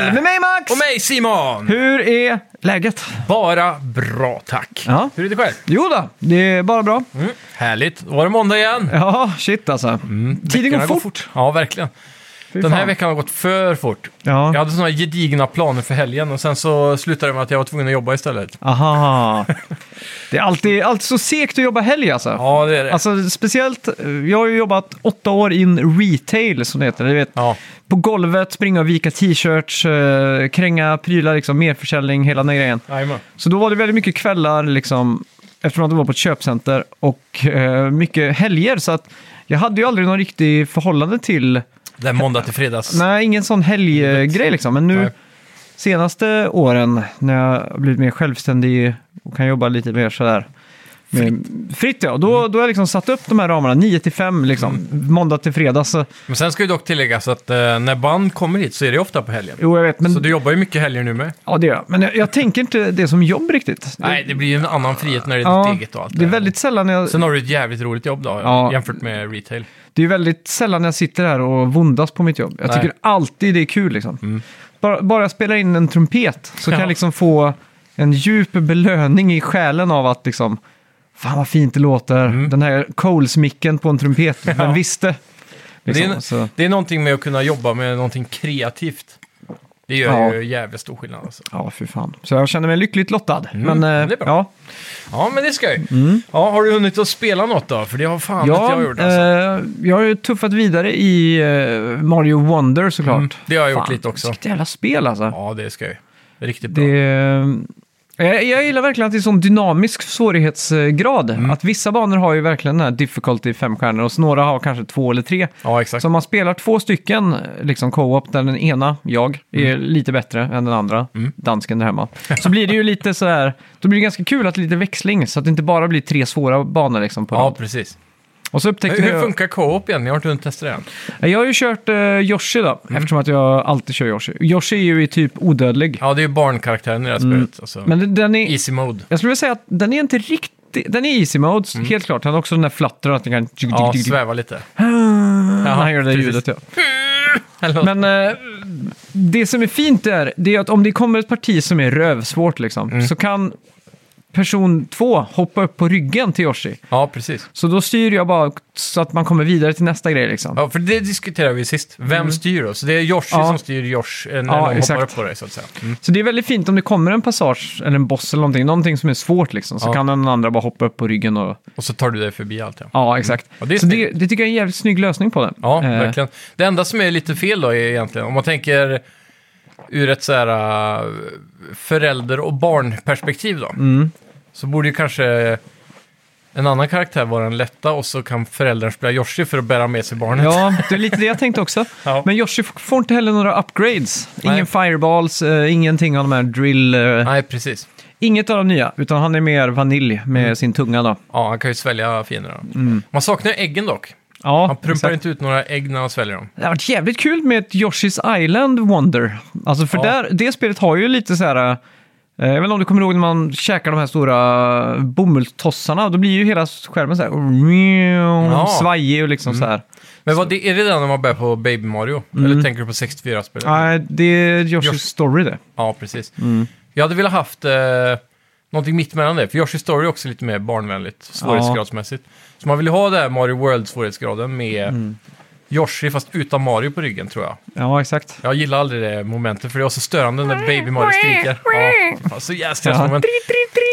Max! Och mig Simon! Hur är läget? Bara bra tack. Ja. Hur är det själv? Jo då, det är bara bra. Mm. Härligt. Då var det måndag igen. Mm. Ja, shit alltså. Tiden går Veckorna fort. Ja, verkligen. Fy Den här fan. veckan har gått för fort. Jag Ja. hade sådana gedigna planer för helgen och sen så slutade det med att jag var tvungen att jobba istället. Aha. Det är alltid, alltid så segt att jobba helg alltså. Ja, det är det. Alltså speciellt, eh, jag har ju jobbat åtta år in retail som det heter. Du vet, ja. på golvet, springa och vika t-shirts, eh, kränga prylar, liksom, merförsäljning, hela den här grejen. Jajamän. Så då var det väldigt mycket kvällar, liksom, eftersom att det var på ett köpcenter, och eh, mycket helger. Så att jag hade ju aldrig någon riktig förhållande till, Det är måndag till fredags. nej, ingen sån helggrej liksom. Men nu, Nej. senaste åren, när jag har blivit mer självständig och kan jobba lite mer sådär, Fritt. Fritt ja, då, Mm. då har jag liksom satt upp de här ramarna, 9 till 5 liksom, måndag till fredag. Så, Men sen ska ju dock tilläggas att eh, när band kommer hit så är det ofta på helgen. jo, jag vet, men Så du jobbar ju mycket helger nu med. Ja, det gör jag. Men jag, jag tänker inte det som jobb riktigt. Nej, det blir ju en annan frihet när det är Ja, ditt eget och allt det är där. väldigt sällan jag, Sen har du ett jävligt roligt jobb då, Ja. jämfört med retail. det är väldigt sällan jag sitter här och våndas på mitt jobb. Jag Nej. Mm. tycker alltid det är kul liksom. Bara, bara jag spelar in en trumpet så kan Ja. jag liksom få en djup belöning i själen av att liksom, fan vad fint det låter. Mm. Den här Coles-micken på en trumpet, den visste. Liksom, det, är, så. det är någonting med att kunna jobba med någonting kreativt. Det gör Ja. ju jävligt stor skillnad alltså. Ja, fy fan. Så jag känner mig lyckligt lottad. Men eh, Mm, det är bra. ja, Ja, men det ska ju. Ja, har du hunnit att spela något då? För det har fan Mm. ja, inte jag gjort alltså. eh, jag har ju tuffat vidare i eh, Mario Wonder såklart. Mm, det har jag gjort Fan, lite också. Vilket jävla spel alltså. Ja, det ska jag ju. Det är Riktigt bra. Det, jag, jag gillar verkligen att det är sån dynamisk svårighetsgrad. Mm. Att vissa banor har ju verkligen den här difficulty fem stjärnor och så några har kanske två eller tre. Ja, exakt. Så om man spelar två stycken liksom co-op där den ena, jag, Mm. är lite bättre än den andra, dansken där hemma. Så blir det ju lite sådär, då blir det ganska kul att lite växling så att det inte bara blir tre svåra banor liksom på Ja, rad. precis. Och så Hur, upptäckte hur jag... funkar co-op igen? Jag har inte hunnit testa det än. Jag har ju kört uh, Yoshi då, Mm. eftersom att jag alltid kör Yoshi. Yoshi är ju i typ odödlig. Ja, det är ju barnkaraktären i det här spelet. Alltså. Mm. Men den- den är... Easy mode. Jag skulle vilja säga att den är inte riktigt... Den är easy mode, helt klart. Han har också den där flattran att den kan... Mm. Ja, sväva lite. När han gör det där precis. ljudet, ja. Eller något. Men eh, det som är fint är, det är att om det kommer ett parti som är rövsvårt, liksom, Mm. så kan person två hoppa upp på ryggen till Yoshi. Ja, precis. Så då styr jag bara så att man kommer vidare till nästa grej, liksom. Ja, för det diskuterade vi sist. Vem styr då? Så det är Yoshi Mm. Ja. som styr Josh eh, när Ja, någon exakt. hoppar upp på dig, så att säga. Mm. Så det är väldigt fint om det kommer en passage, eller en boss eller någonting, någonting som är svårt, liksom, så Ja. kan den andra bara hoppa upp på ryggen och... Och så tar du dig förbi allt, ja. Ja, exakt. Ja, det är så det, snyggt. det tycker jag är en jävligt snygg lösning på den. Ja, Eh, verkligen. Det enda som är lite fel då är egentligen, om man tänker ur ett så här äh, förälder och barnperspektiv då, Mm. så borde ju kanske en annan karaktär vara den lätta och så kan föräldern spela Yoshi för att bära med sig barnet. Ja, det är lite det jag tänkte också. Ja. Men Yoshi f- får inte heller några upgrades. Ingen Nej. fireballs, eh, ingenting av de här drill... eh, Nej, precis. inget av de nya, utan han är mer vanilj med Mm. sin tunga då. Mm. Ja, han kan ju svälja fienderna. Man saknar ju äggen dock. Ja, Han prumpar exakt. inte ut några ägg när han sväljer dem. Det har varit jävligt kul med ett Yoshi's Island Wonder. Alltså för Ja. där, det spelet har ju lite så här... eh, Jag vet inte om du kommer ihåg när man käkar de här stora bomullstossarna. Då blir ju hela skärmen så här... Ja. Mm. Svajig och liksom så här. Men vad, det, är det den när man börjar på Baby Mario? Eller Mm. tänker du på 64-spelet? Nej, det är Yoshi's Yoshi- Story det. Ja, precis. Jag hade velat haft eh, någonting mitt mellan det, för Yoshi Story är också lite mer barnvänligt, svårighetsgradsmässigt. Så man vill ju ha det här Mario World-svårighetsgraden med Yoshi, fast utan Mario på ryggen tror jag. Ja, exakt. Jag gillar aldrig det momentet, för det var så störande när Baby Mario skriker. Ja, fy fan, så jävla stressmoment.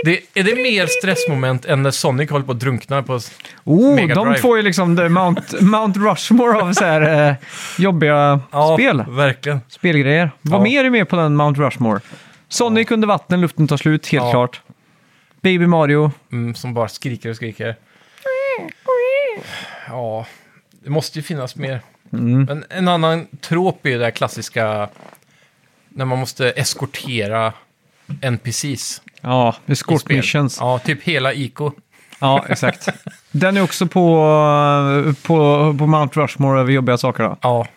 Det, är det mer stressmoment än när Sonic håller på att drunkna? På, s- Oh, Mega de Drive. två är liksom the Mount, Mount Rushmore av så här, eh, jobbiga ja, spel. verkligen. Spelgrejer. Vad Ja. mer är med på den Mount Rushmore? Sonic under vatten, luften tar slut, helt Ja. klart. Baby Mario. Mm, som bara skriker och skriker. Ja, det måste ju finnas mer. Mm. Men en annan trop är ju det här klassiska när man måste eskortera NPCs. i Ja, Escort spel. Missions. Ja. Ja, typ hela ICO. exakt. eh, Den är också på, på, på Mount Rushmore över jobbiga saker. Då. Ja,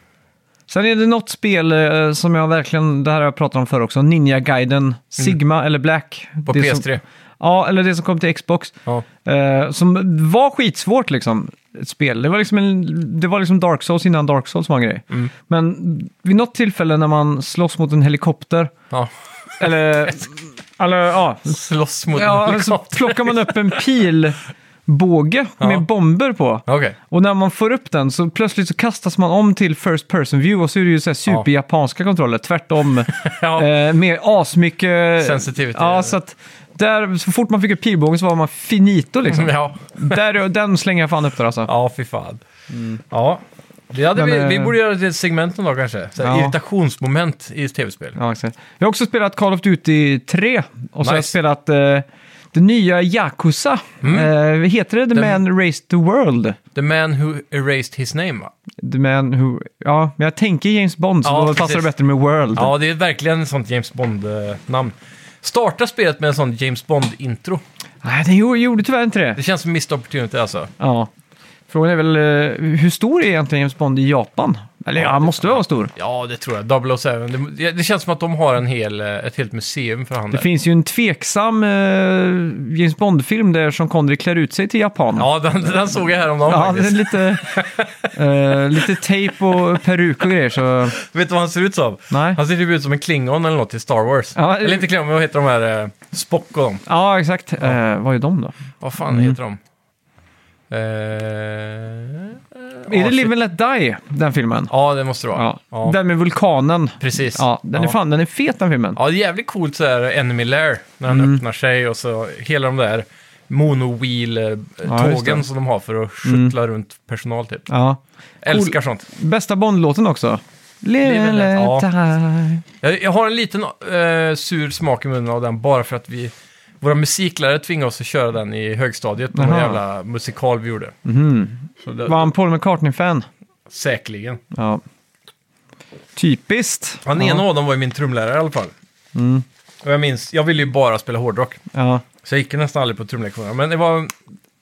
Sen är det något spel eh, som jag verkligen, det här har jag pratat om förr också, Ninja Gaiden Sigma eller Black. Mm. På Det som- PS3. Ja, eller det som kom till Xbox. Ja. Eh, som var skitsvårt liksom, ett spel. Det var liksom, en, det var liksom Dark Souls innan Dark Souls var en grej. Mm. Men vid något tillfälle när man slåss mot en helikopter, Ja. eller, eller ja, Slåss mot en ja så helikopter. plockar man upp en pilbåge med bomber på. Okej. Och när man får upp den så plötsligt så kastas man om till first person view och så är det ju så här superjapanska kontroller, tvärtom. Ja. Eh, med asmycket... Sensitivity. Ja, så att där, så fort man fick upp pilbågen så var man finito liksom. ja. där, den slänger jag fan upp där alltså. ja, fy fan. Ja. Det hade Mm. Men, vi, eh, vi borde göra det till ett segment någon dag kanske. Så här, Ja. Irritationsmoment i tv-spel. Ja, exakt. Jag har också spelat Call of Duty 3 och så har jag Nice. Mm. spelat eh, det nya Yakuza. Eh, heter det The Man Raised the World? The man who erased his name va? The Man Who... Ja, men jag tänker James Bond så Ja, då precis. passar det bättre med World. Ja, det är verkligen ett sånt James Bond-namn. Starta spelet med en sån James Bond-intro. Nej, den gjorde, gjorde tyvärr inte det. Det känns som missed opportunity alltså. Ja. Frågan är väl, eh, hur stor är egentligen James Bond i Japan? Eller ja, han måste vara stor. Ja, det tror jag. 007. Det, det känns som att de har en hel, eh, ett helt museum för han Det där. finns ju en tveksam eh, James Bond-film där Sean Connery klär ut sig till japan. Ja, den, den såg jag häromdagen Ja, det är faktiskt. lite, eh, lite tejp och peruk och grejer. Så, Vet du vad han ser ut som? nej. Han ser typ ut som en klingon eller något till Star Wars. Ja, eller inte klingon, men vad heter de här? eh, Spock och de. Ja, exakt. Eh, vad är de då? Vad fan Mm. heter de? Eh, eh, är det ja, shit. Live and Let Die, den filmen? Ja, det måste det vara. Ja. Ja. Ja. Den med vulkanen. Precis. Ja, den är fan, den är fet den filmen. Ja, det är jävligt coolt så här enemy lair när han Mm. öppnar sig och så hela de där Ja, just monowheel-tågen det. Mm. som de har för att skyttla runt personal typ. Ja. Älskar sånt. Bästa Bond-låten också. Live and let die. Jag, jag har en liten eh, sur smak i munnen av den bara för att vi, våra musiklärare tvingade oss att köra den i högstadiet på någon Jaha. jävla musikal vi gjorde. Så det, Mhm. Var han Paul McCartney-fan? Säkerligen. Ja. Typiskt. Han ja. Mm. ena av dem var ju min trumlärare i alla fall. Och jag minns, jag ville ju bara spela hårdrock. Ja. Så jag gick ju nästan aldrig på trumlektionerna. Men det var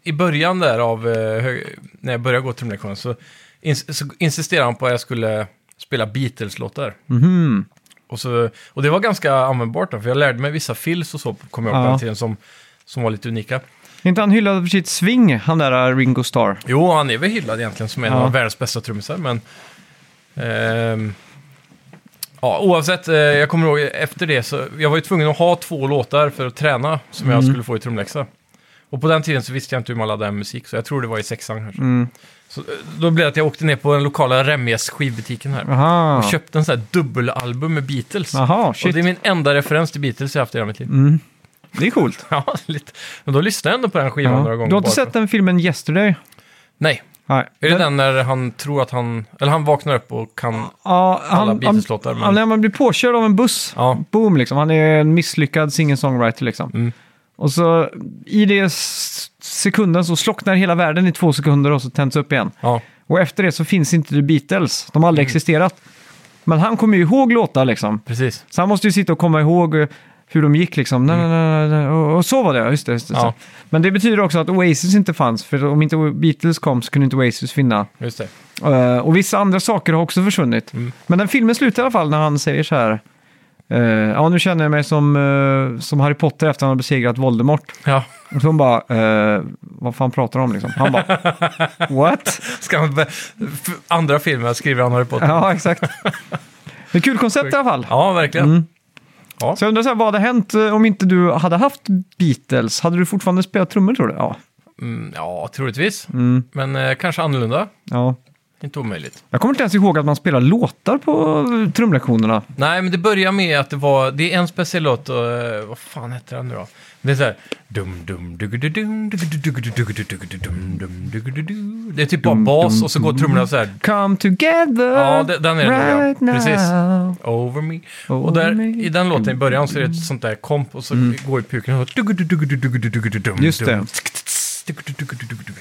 i början där av, eh, hö- när jag började gå trumlektioner så, ins- så insisterade han på att jag skulle spela Beatles-låtar. Mhm. Och, så, och det var ganska användbart då, för jag lärde mig vissa fills och så, kom jag ihåg på Ja. den tiden, som, som var lite unika. Är inte han hyllad för sitt swing, han där eh, Ringo Starr? Jo, han är väl hyllad egentligen som en Ja. av världens bästa trummisar, men... ehm, ja, oavsett, eh, jag kommer ihåg efter det så... Jag var ju tvungen att ha två låtar för att träna som Mm. jag skulle få i trumläxa. Och på den tiden så visste jag inte hur man laddade hem musik, så jag tror det var i sexan kanske. Mm. Så, eh, då blev det att jag åkte ner på den lokala Remjes skivbutiken här. Aha. Och köpte en sån här dubbelalbum med Beatles. Aha, och shit. det är min enda referens till Beatles jag haft i hela mitt liv. Mm. Det är coolt. Ja, lite. Men då lyssnade jag ändå på den skivan Ja. några gånger. Du har inte bara för- sett den filmen Yesterday? Nej. Nej. Är det den när han tror att han... Eller han vaknar upp och kan... Ja, han, Alla Beatles-låtar, han- men- ja, när man blir påkörd av en buss, Ja. boom liksom. Han är en misslyckad singer-songwriter liksom. Mm. Och så i det s- sekunden så slocknar hela världen i två sekunder och så tänds upp igen. Ja. Och efter det så finns inte The Beatles. De har Mm. aldrig existerat. Men han kommer ju ihåg låtar liksom. Precis. Så han måste ju sitta och komma ihåg eh, hur de gick liksom. Nej, nej, nej, nej. Och och så var det, ja, just det. Just det Ja. Så. Men det betyder också att Oasis inte fanns, för om inte Beatles kom så kunde inte Oasis finna. Just det. Eh, och vissa andra saker har också försvunnit. Men den filmen slutar i alla fall när han säger så här. eh, ja, nu känner jag mig som, eh, som Harry Potter efter att han har besegrat Voldemort. Ja. Och så hon bara, eh, vad fan pratar de om liksom? Han bara, what? Ska han be- f- andra filmer skriver han Harry Potter. Ja, Ja, exakt. Det är kul koncept i alla fall. verkligen. Mm. Så jag undrar så här, vad hade hänt eh, om inte du hade haft Beatles? Hade du fortfarande spelat trummor tror du? Ja. Mm, ja, troligtvis. Mm. Men eh, kanske annorlunda. ja. Inte omöjligt. Jag kommer inte ens ihåg att man spelar låtar på eh, trumlektionerna. Nej, men det börjar med att det var... Det är en speciell låt och... eh, Vad fan heter den nu då? Det är så här... Dum, dum, dugududum, dugududugudugudugudugudum, dum, dugududu. Det är typ bara bas och så går trummorna så här... Come together Ja, det- den är det nog, right ja. now. Precis. Over me. och Over där, me. Mm. i den låten i början så är det ett sånt där komp och så går ju puken och så... dugududugudugudugudum, Just det. dum,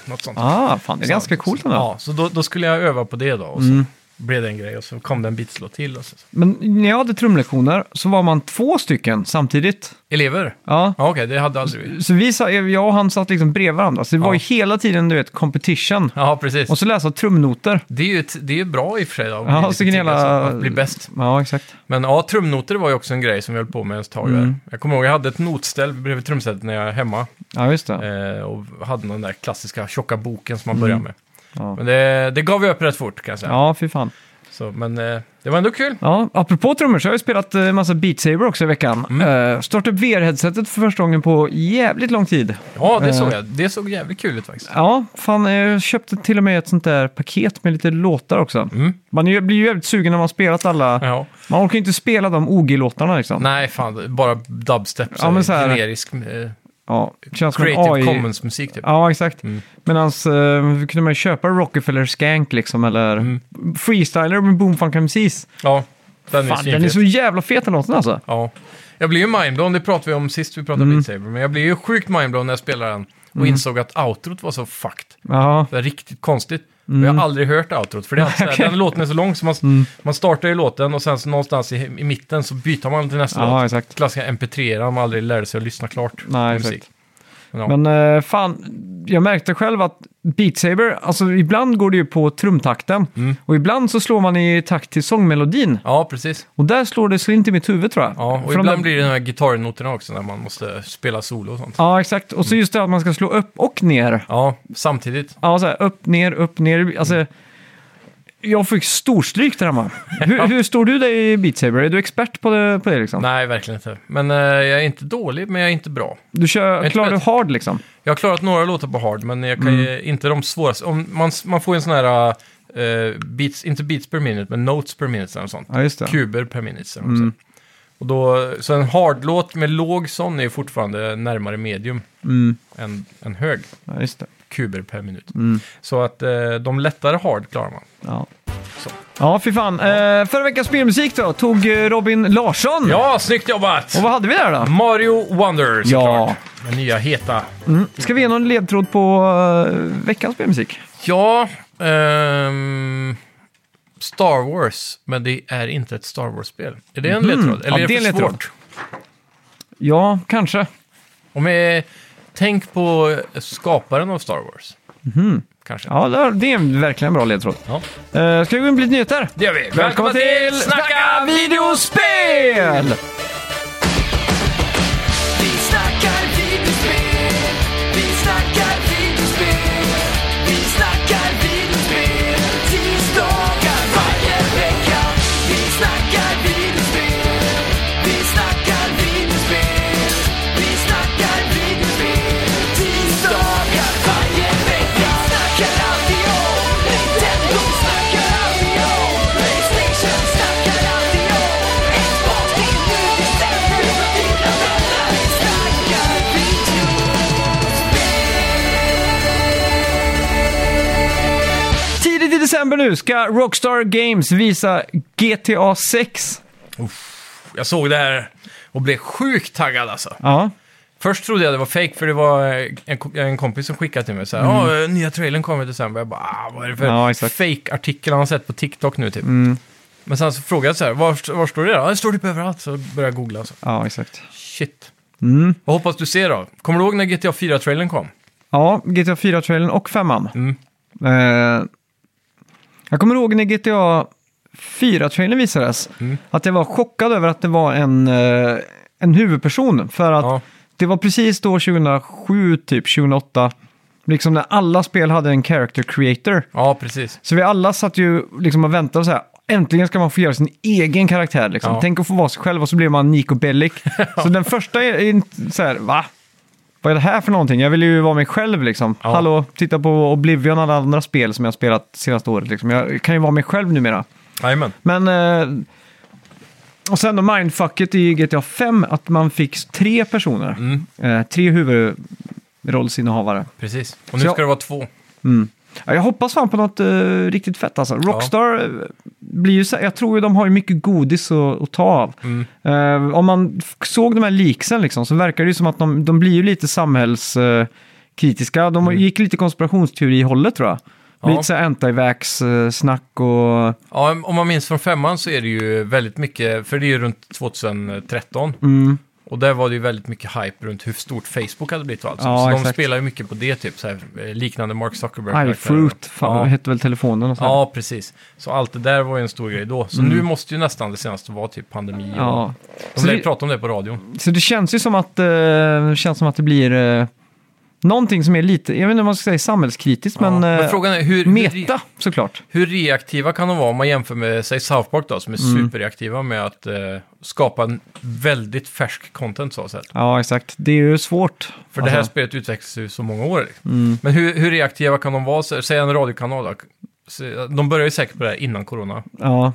Något sånt. Ah, fan, det är ganska coolt ändå. Mm. Ja, så då, då skulle jag öva på det då. Och så blev det en grej och så kom det en bitslåt till. Och så. Men när jag hade trumlektioner så var man två stycken samtidigt. Elever? Ja. Ja, okej, det hade aldrig vi. Så vi, sa- jag och han satt liksom bredvid varandra, så det var Ja. ju hela tiden du vet, competition. Ja, precis. Och så läsa trumnoter. Det är ju ett, det är ju bra i och för sig. Då, att Ja, bli så kan lite till, hela- alltså, att bli bäst. Ja, exakt. Men ja, trumnoter var ju också en grej som vi höll på med ett tag. Mm. där. Jag kommer ihåg, jag hade ett notställ bredvid trumsetet när jag var hemma. Ja, just det. Eh, och hade den där klassiska tjocka boken som man började med. Ja. Men det, det gav vi upp rätt fort kan jag säga. Ja, fy fan. Så, men eh, det var ändå kul. Ja, apropå trummor så har jag ju spelat eh, massa Beat Saber också i veckan. Mm. startat upp VR-headsetet för första gången på jävligt lång tid. Ja, det Eh. såg jag. Det såg jävligt kul ut faktiskt. Ja, fan, eh, jag köpte till och med ett sånt där paket med lite låtar också. Mm. Man är ju- blir ju jävligt sugen när man har spelat alla. Ja. Man orkar ju inte spela de OG-låtarna liksom. Nej, fan, bara dubstep. Ja, men så här- generisk eh, Ja, känns som en creative AI. commons-musik typ. Ja, exakt. Mm. Medans eh, kunde man ju köpa Rockefeller Skank liksom, eller Mm. Freestyler med Boom Funk MCs. Ja, den är Fan, den är svinfet. så jävla fet den låten alltså. Ja. Jag blev ju mindblown, det pratade vi om sist vi Mm. pratade om Beat Saber, men jag blev ju sjukt mindblown när jag spelade den och insåg att outrot var så fucked. Ja, Det var riktigt konstigt. Och Mm. jag har aldrig hört outrot, för det är alltid så här, den låten är så lång så man, man startar ju låten och sen så någonstans i, i mitten så byter man till nästa ja låt. exakt. Klassiska mp3 man aldrig lärde sig att lyssna klart Nej, på exakt. musik. Men, ja. Men eh, fan, jag märkte själv att Beat Saber, alltså ibland går det ju på trumtakten. Mm. Och ibland så slår man i takt till sångmelodin. ja, precis. Och där slår det slint i mitt huvud tror jag. Ja, och För de ibland där- blir det de här gitarrnoterna också när man måste spela solo och sånt. Ja, exakt. Och så Mm. just det att man ska slå upp och ner. Ja, samtidigt. Ja, så här, upp, ner, upp, ner. Alltså, Mm. Jag fick storstryk där hemma. Hur, hur står du dig i Beat Saber? Är du expert på det, på det liksom? Nej, verkligen inte. Men eh, jag är inte dålig, men jag är inte bra. Du kör, Inte klarar du bättre. hard liksom? Jag har klarat några låtar på hard, men jag Mm. kan ju inte de svåraste. Om man, man får ju en sån här, eh, beats, inte beats per minute, men notes per minute eller något sånt. Ja, just det. Kuber per minute. eller något Mm. sånt. Och då, så en hard-låt med låg sån är ju fortfarande närmare medium Mm. än, än hög Ja, just det. kuber per minut. Mm. Så att eh, de lättare hard klarar man. Ja. Så. Ja, fy fan. Eh, förra veckans spelmusik då tog eh, Robin Larsson. Ja, snyggt jobbat! Och vad hade vi där då? Mario Wonder såklart. Ja. Den nya heta. Ska vi ge någon ledtråd på eh, veckans spelmusik? Ja, ehm, Star Wars, men det är inte ett Star Wars-spel. Är det en ledtråd? Eller Mhm. Ja, är det det, är en för ledtråd. svårt? Ja, kanske. Om jag, tänk på skaparen av Star Wars. Kanske. Mhm. Ja, det är- det är en verkligen bra ledtråd. Ja. Eh, ska vi gå in på lite nyheter? Det gör vi. Välkomna till Snacka videospel! Vi snackar videospel, vi snackar videospel, vi snackar videospel, tisdagar varje vecka. Vi snackar videospel, vi snackar videospel, vi snackar videospel, tisdagar varje vecka. Snackar alltid om Nintendo, snackar alltid om Playstation, snackar alltid om Xbox, det är nu det stämmer, det är dina vänner. Vi snackar videospel. Tidigt i december nu ska Rockstar Games visa GTA 6. Jag såg det här och blev sjukt taggad alltså. Ja, Först trodde jag det var fake för det var eh, en, ko- en kompis som skickade till mig så här, "Ja, eh, nya trailern kommer i december. Jag bara, ah, vad är det för Mm. Ja, exakt. Mm. fake-artikel han har sett på TikTok nu typ. Men sen så frågade jag så här, var, var står det då? Ja, det står typ överallt. Så började jag googla. Så. ja exakt. Shit. Mm. Vad hoppas du ser då? Kommer du ihåg när GTA 4-trailern kom? Ja, GTA 4-trailern och 5an. Mm. Eh, jag kommer ihåg när GTA 4-trailern visades, Mm. att jag var chockad över att det var en, eh, en huvudperson. För att Ja. det var precis då 2007, typ 2008, liksom när alla spel hade en character creator. Ja, precis. Så vi alla satt ju liksom och väntade och så här, äntligen ska man få göra sin egen karaktär liksom. Ja. Tänk att få vara sig själv och så blir man Nico Bellic. så den första är inte så här, va? Vad är det här för någonting? Jag vill ju vara mig själv liksom. Ja. Hallå, titta på Oblivion och alla andra spel som jag har spelat senaste året liksom. Jag kan ju vara mig själv numera. Jajamän. Men... Eh, och sen då mindfucket i GTA 5, att man fick tre personer. Mm. Eh, tre huvudrollsinnehavare. Precis. Och Så nu jag- ska det vara två. Mm. Ja, jag hoppas fan på något eh, riktigt fett alltså. Rockstar eh, blir ju så jag tror ju de har ju mycket godis att, att ta av. Mm. Eh, om man f- såg de här leaksen liksom, så verkar det ju som att de, Mm. de blir ju lite samhällskritiska. de gick lite konspirationsteori-hållet tror jag. Lite så här anti-vax-snack och... Ja, om man minns från femman så är det ju väldigt mycket, för det är ju runt 2013. Mm, Och där var det ju väldigt mycket hype runt hur stort Facebook hade blivit och allt. sånt. Ja, så de exakt. spelar ju mycket på det, typ så här, eh, liknande Mark Zuckerberg. iFruit fan, Ja. hette väl telefonen och så. här. Ja, precis. Så allt det där var ju en stor grej då. Så nu måste ju nästan det senaste vara typ pandemi. Och Mm. ja. de Så lär ju det- prata om det på radion. Så det känns ju som att, eh, känns som att det blir eh, någonting som är lite, jag vet inte om man ska säga samhällskritiskt, ja. men, eh, men frågan är hur, hur, meta såklart. hur reaktiva kan de vara om man jämför med, säg South Park då, som är Mm. superreaktiva med att eh, skapa en väldigt färsk content så att säga. Ja, exakt. Det är ju svårt. För det här Alltså, Mm. spelet utvecklas ju så många år. Liksom. Men hur, hur reaktiva kan de vara? Så- Säg en radiokanal då. Så- De börjar ju säkert på det här innan corona. ja,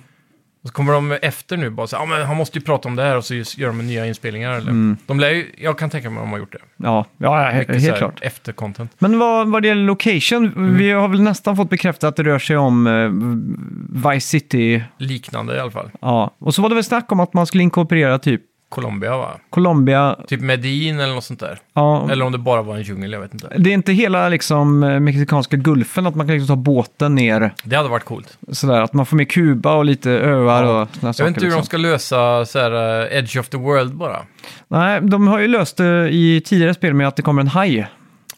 Och så kommer de efter nu bara så här, "Ja, men han måste ju prata om det här och så gör de nya inspelningar. Eller? De lär ju, jag kan tänka mig att de har gjort det. ja, ja, Mm. he- så helt här Mm. klart. Efter-content. Men vad, vad det gäller location, vi har väl nästan fått bekräftat att det rör sig om eh, Vice City. Liknande i alla fall. Ja. Och så var det väl snack om att man skulle inkorporera typ Colombia va? Colombia. Typ Medellin eller något sånt där. Ja. Eller om det bara var en djungel, jag vet inte. Det är inte hela liksom, eh, mexikanska gulfen, att man kan liksom ta båten ner Det hade varit coolt. sådär. Att man får med Kuba och lite öar Ja. och sådana Jag saker. vet inte hur liksom. de ska lösa så här, eh, Edge of the World bara. Nej, de har ju löst det i tidigare spel med att det kommer en haj.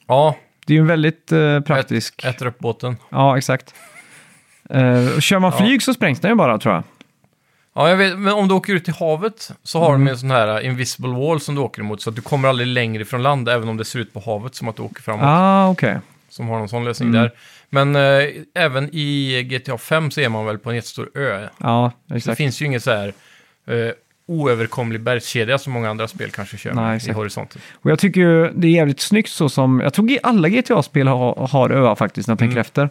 Ja, Det är ju en väldigt eh, praktisk. äter upp båten. Ja, exakt. Eh, och kör man flyg så sprängs den ju bara tror jag. Ja, jag vet, men om du åker ut till havet så har de en sån här uh, invisible wall som du åker emot så att du kommer aldrig längre från land även om det ser ut på havet som att du åker framåt. Ah, okej. Som har någon sån lösning Mm. där. Men eh, även i GTA 5 så är man väl på en jättestor ö. Ja, Så det exakt. finns ju ingen så här eh, oöverkomlig bergskedja som många andra spel kanske kör med Nej, i exakt. horisonten. Och jag tycker ju det är jävligt snyggt så som, jag tror alla GTA-spel har, har öar faktiskt när jag tänker Mm. efter.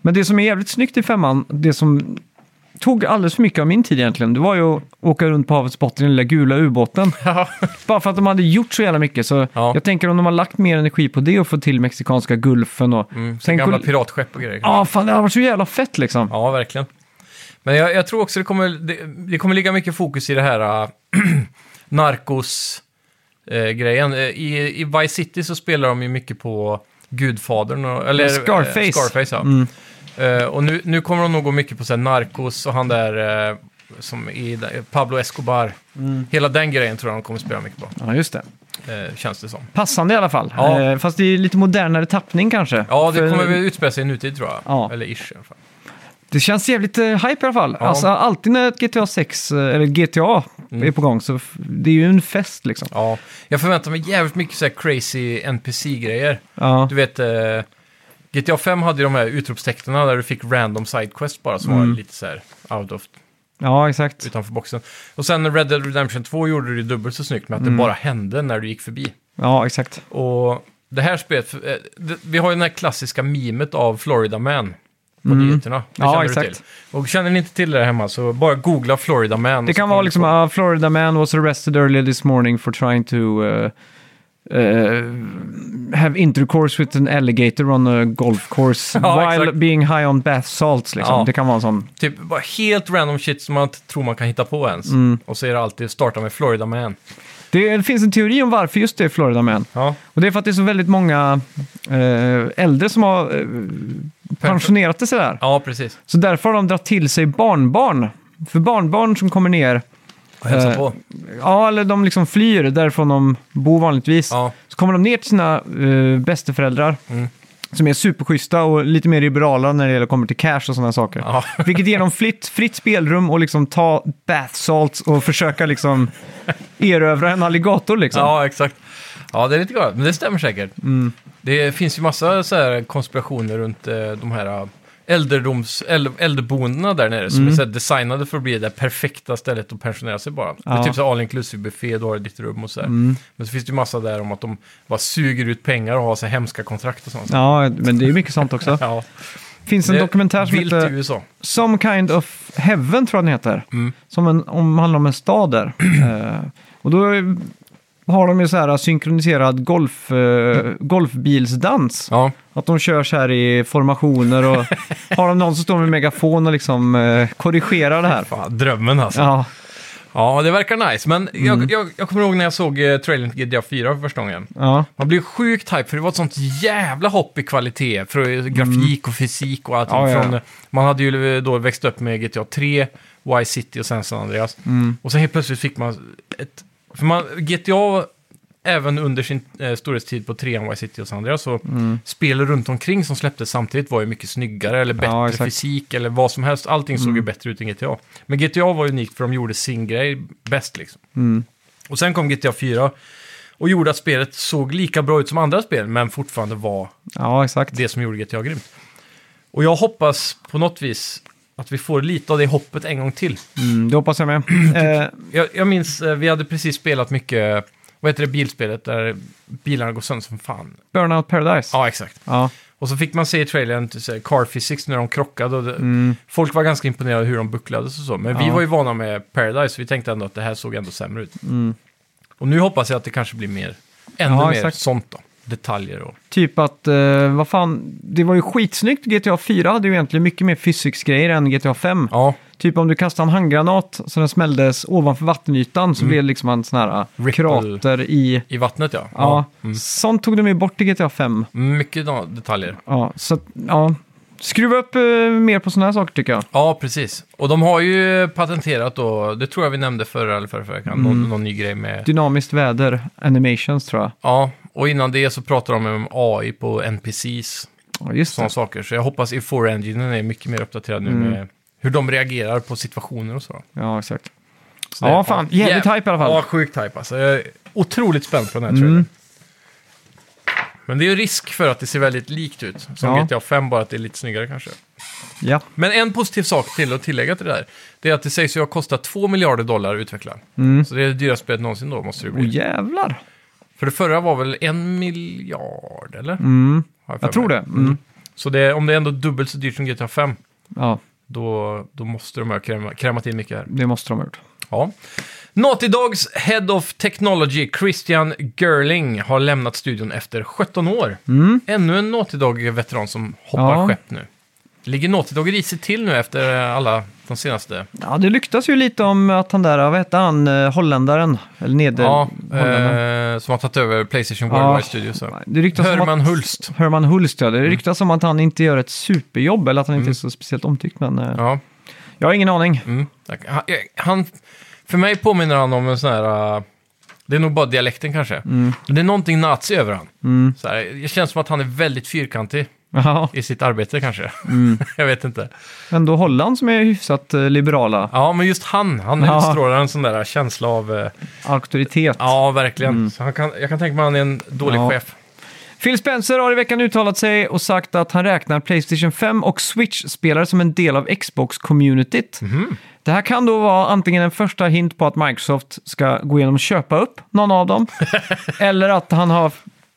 Men det som är jävligt snyggt i femman, det som tog alldeles för mycket av min tid egentligen, det var ju att åka runt på havets botten i den lilla gula ubåten. Ja. Bara för att de hade gjort så jävla mycket. Så Ja. jag tänker om de har lagt mer energi på det och få till mexikanska gulfen och... Mm, så Tänk gamla att- piratskepp och grejer. Ja, fan det hade varit så jävla fett liksom. Ja, verkligen. Men jag, jag tror också det kommer, det, det kommer ligga mycket fokus i det här äh, narkos-grejen. Äh, I, I Vice City så spelar de ju mycket på Gudfadern, och, eller eh, Scarface. Scarface ja. Mm. Eh, och nu, nu kommer de nog gå mycket på så här, narkos och han där eh, som i där- Pablo Escobar. Mm. Hela den grejen tror jag de kommer spela mycket på, Ja, just det. eh, känns det som. Passande i alla fall. Ja. Eh, fast det är lite modernare tappning kanske. Ja, det För- kommer väl utspela sig i nutid tror jag. Ja. Eller ish i alla fall. Det känns jävligt eh, hype i alla fall. Ja. Alltså alltid när ett GTA 6, eh, eller GTA, Mm. är på gång så f- det är ju en fest liksom. Ja, jag förväntar mig jävligt mycket så här crazy NPC-grejer. Ja, Du vet, eh, GTA 5 hade ju de här utropstecknena där du fick random sidequest bara som Mm. var lite så här out of, ja exakt. utanför boxen. Och sen Red Dead Redemption 2 gjorde det dubbelt så snyggt med att Mm. det bara hände när du gick förbi. Ja, exakt. Och det här spelet, eh, det, vi har ju den här klassiska mimet av Florida Man på nyheterna. Det Mm. Ja, känner du exakt. till. Och känner ni inte till det här hemma så bara googla Florida Man. Det och så kan kommer vara ni liksom, på. uh, Florida man was arrested earlier this morning for trying to uh, uh, have intercourse with an alligator on a golf course Ja, while exakt. being high on bath salts. Liksom. Ja. Det kan vara en sån. Typ bara helt random shit som man inte tror man kan hitta på ens. Mm. Och så är det alltid starta med Florida Man. Det finns en teori om varför just det är Florida man. Ja, Och det är för att det är så väldigt många eh, äldre som har eh, pensionerat sig där. ja precis. Så därför har de dragit till sig barnbarn. För barnbarn som kommer ner, Och hälsa Eh, på. ja eller de liksom flyr därifrån de bor vanligtvis. Ja. Så kommer de ner till sina uh, bästeföräldrar. Mm. Som är superschyssta och lite mer liberala när det gäller kommer till cash och sådana saker. Ja. Vilket ger dem fritt, fritt spelrum och liksom ta bath salts och försöka liksom erövra en alligator liksom. Ja, exakt. Ja, det är lite galet, men det stämmer säkert. Mm. Det finns ju massa så här konspirationer runt eh, de här eh, äldredoms, äl- äldreboendena där nere som är Mm. så här designade för att bli det perfekta stället att pensionera sig bara. Det är Ja. Mm. typ så här all inclusive buffé, du har ditt rum och så här. Men så finns det ju massa där om att de bara suger ut pengar och har så här hemska kontrakt och sånt. Ja, men det är ju mycket sånt också. Ja, finns en det är dokumentär som vilt i heter USA. Some Kind of Heaven, tror jag den heter. Mm. Som en, om, handlar om en stad där. Eh, och då är- har de ju så här synkroniserad golf, eh, golfbilsdans. Ja, Att de kör så här i formationer och har de någon som står med megafon och liksom eh, korrigerar det här. fan, drömmen alltså. Ja. Ja, Mm. Ja, det verkar nice. Men jag, jag, jag kommer ihåg när jag såg eh, trailern till GTA 4 för första gången. Ja. Man blev sjukt hype för det var ett sånt jävla hopp i kvalitet. För eh, grafik och fysik och allt. Mm. Ja, ja. från, Man hade ju eh, då växt upp med GTA 3, Y City och sen San Andreas. Mm. Och så helt plötsligt fick man ett... För man, GTA, även under sin eh, storhetstid på 3 Y City och San Andreas, så Mm. spel runt omkring som släpptes samtidigt var ju mycket snyggare eller bättre Ja, exakt. Mm. fysik eller vad som helst. Allting såg ju bättre ut än GTA. Men GTA var unikt för de gjorde sin grej bäst liksom. Mm. Och sen kom GTA 4 och gjorde att spelet såg lika bra ut som andra spel, men fortfarande var ja, exakt. det som gjorde GTA grymt. Och jag hoppas på något vis att vi får lite av det hoppet en gång till. Mm, det hoppas jag med. Typ. Eh, Jag, jag minns, eh, vi hade precis spelat mycket, vad heter det bilspelet, där bilarna går sönder som fan. Burnout Paradise. Ja, exakt. Ja. Och så fick man se i trailern till så här, Car Physics när de krockade. Och det, Folk var ganska imponerade hur de bucklades och så. Men vi Mm. Ja. var ju vana med Paradise, vi tänkte ändå att det här såg ändå sämre ut. Och nu hoppas jag att det kanske blir mer, ännu Mm. Ja, mer exakt. sånt då. Detaljer och... Typ att, eh, vad fan, det var ju skitsnyggt. GTA 4 hade ju egentligen mycket mer fysiksgrejer än GTA 5. Ja, Typ om du kastade en handgranat så den smälldes ovanför vattenytan så blev det liksom en sån här eh, Mm. Ripple. krater i... i vattnet ja. mm. Ja, sånt tog de ju bort i GTA 5. Mycket da- detaljer. Ja, så att, ja. Skruva upp eh, mer på såna här saker tycker jag. Ja, precis. Och de har ju patenterat då, det tror jag vi nämnde förra eller förra veckan, Mm. någon, någon ny grej med... Dynamiskt väder, animations tror jag. Ja, och innan det så pratar de om AI på NPCs, Ja, just sådana det. saker. Så jag hoppas E4 Enginen är mycket mer uppdaterad nu Mm. med hur de reagerar på situationer och så. Ja, exakt. så Ja, fan. Jävligt hype i alla fall. Mm. Ja, sjukt hype alltså. Jag är otroligt spänd på den här trailern. Men det är ju risk för att det ser väldigt likt ut. Som Ja. GTA 5, bara att det är lite snyggare kanske. Ja. Men en positiv sak till att tillägga till det där, det är att det sägs ju ha kostat 2 miljarder dollar att utveckla. Mm. Så det är det dyraste spelet någonsin då, måste det bli. Åh jävlar. För det förra var väl en miljard, eller? Har för Jag tror mig. det. Mm. Så det, om det är ändå dubbelt så dyrt som GTA 5, Ja, då, då måste de ha kräma- krämat in mycket här. det måste de ha gjort. Ja. Naughty Dogs Head of Technology, Christian Gerling, har lämnat studion efter 17 år. Mm. Ännu en Naughty Dog-veteran som hoppar Ja. skepp nu. Ligger Naughty Dog risigt till nu efter alla de senaste Ja, det lyktas ju lite om att han där, vad hette han, eh, holländaren? Eller neder... Ja, holländaren. eh, som har tagit över Playstation Ja. Worldwide Studios. ja. Det ryktas om Herman att... Hulst. Mm. Herman Hulst, ja. Det ryktas om att han inte gör ett superjobb eller att han inte är så speciellt omtyckt, men eh, Ja, jag har ingen aning. mm. Tack. Han- eh, Han, för mig påminner han om en sån här... eh, det är nog bara dialekten kanske. Mm. Men Det är någonting nazi över han. Så här, det känns som att han är väldigt fyrkantig Ja, i sitt arbete kanske. Mm. Jag vet inte. ändå Holland som är hyfsat eh, liberala. Ja, men just han, han Ja. utstrålar en sån där känsla av... eh, Auktoritet. Ja, verkligen. Så han kan, jag kan tänka mig att han är en dålig Mm. Ja. chef. Phil Spencer har i veckan uttalat sig och sagt att han räknar Playstation 5 och Switch-spelare som en del av Xbox-communityt. Mhm. Det här kan då vara antingen en första hint på att Microsoft ska gå igenom och köpa upp någon av dem, eller att han har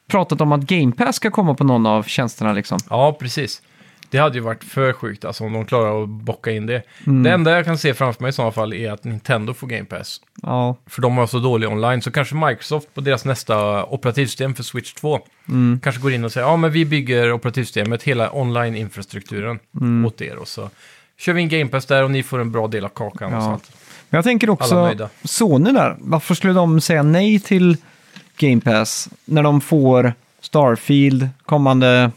pratat om att Game Pass ska komma på någon av tjänsterna. Liksom. Ja, precis. Det hade ju varit för sjukt alltså, om de klarar att bocka in det. Mm. Det enda jag kan se framför mig i sådana fall är att Nintendo får Game Pass. Ja, För de har så dålig online, så kanske Microsoft på deras nästa operativsystem för Switch 2 kanske går in och säger ja men vi bygger operativsystemet, hela online-infrastrukturen åt er och så kör vi in Game Pass där och ni får en bra del av kakan och Ja. sånt. Men jag tänker Alla också, nöjda. Sony där, varför skulle de säga nej till Game Pass när de får Starfield, kommande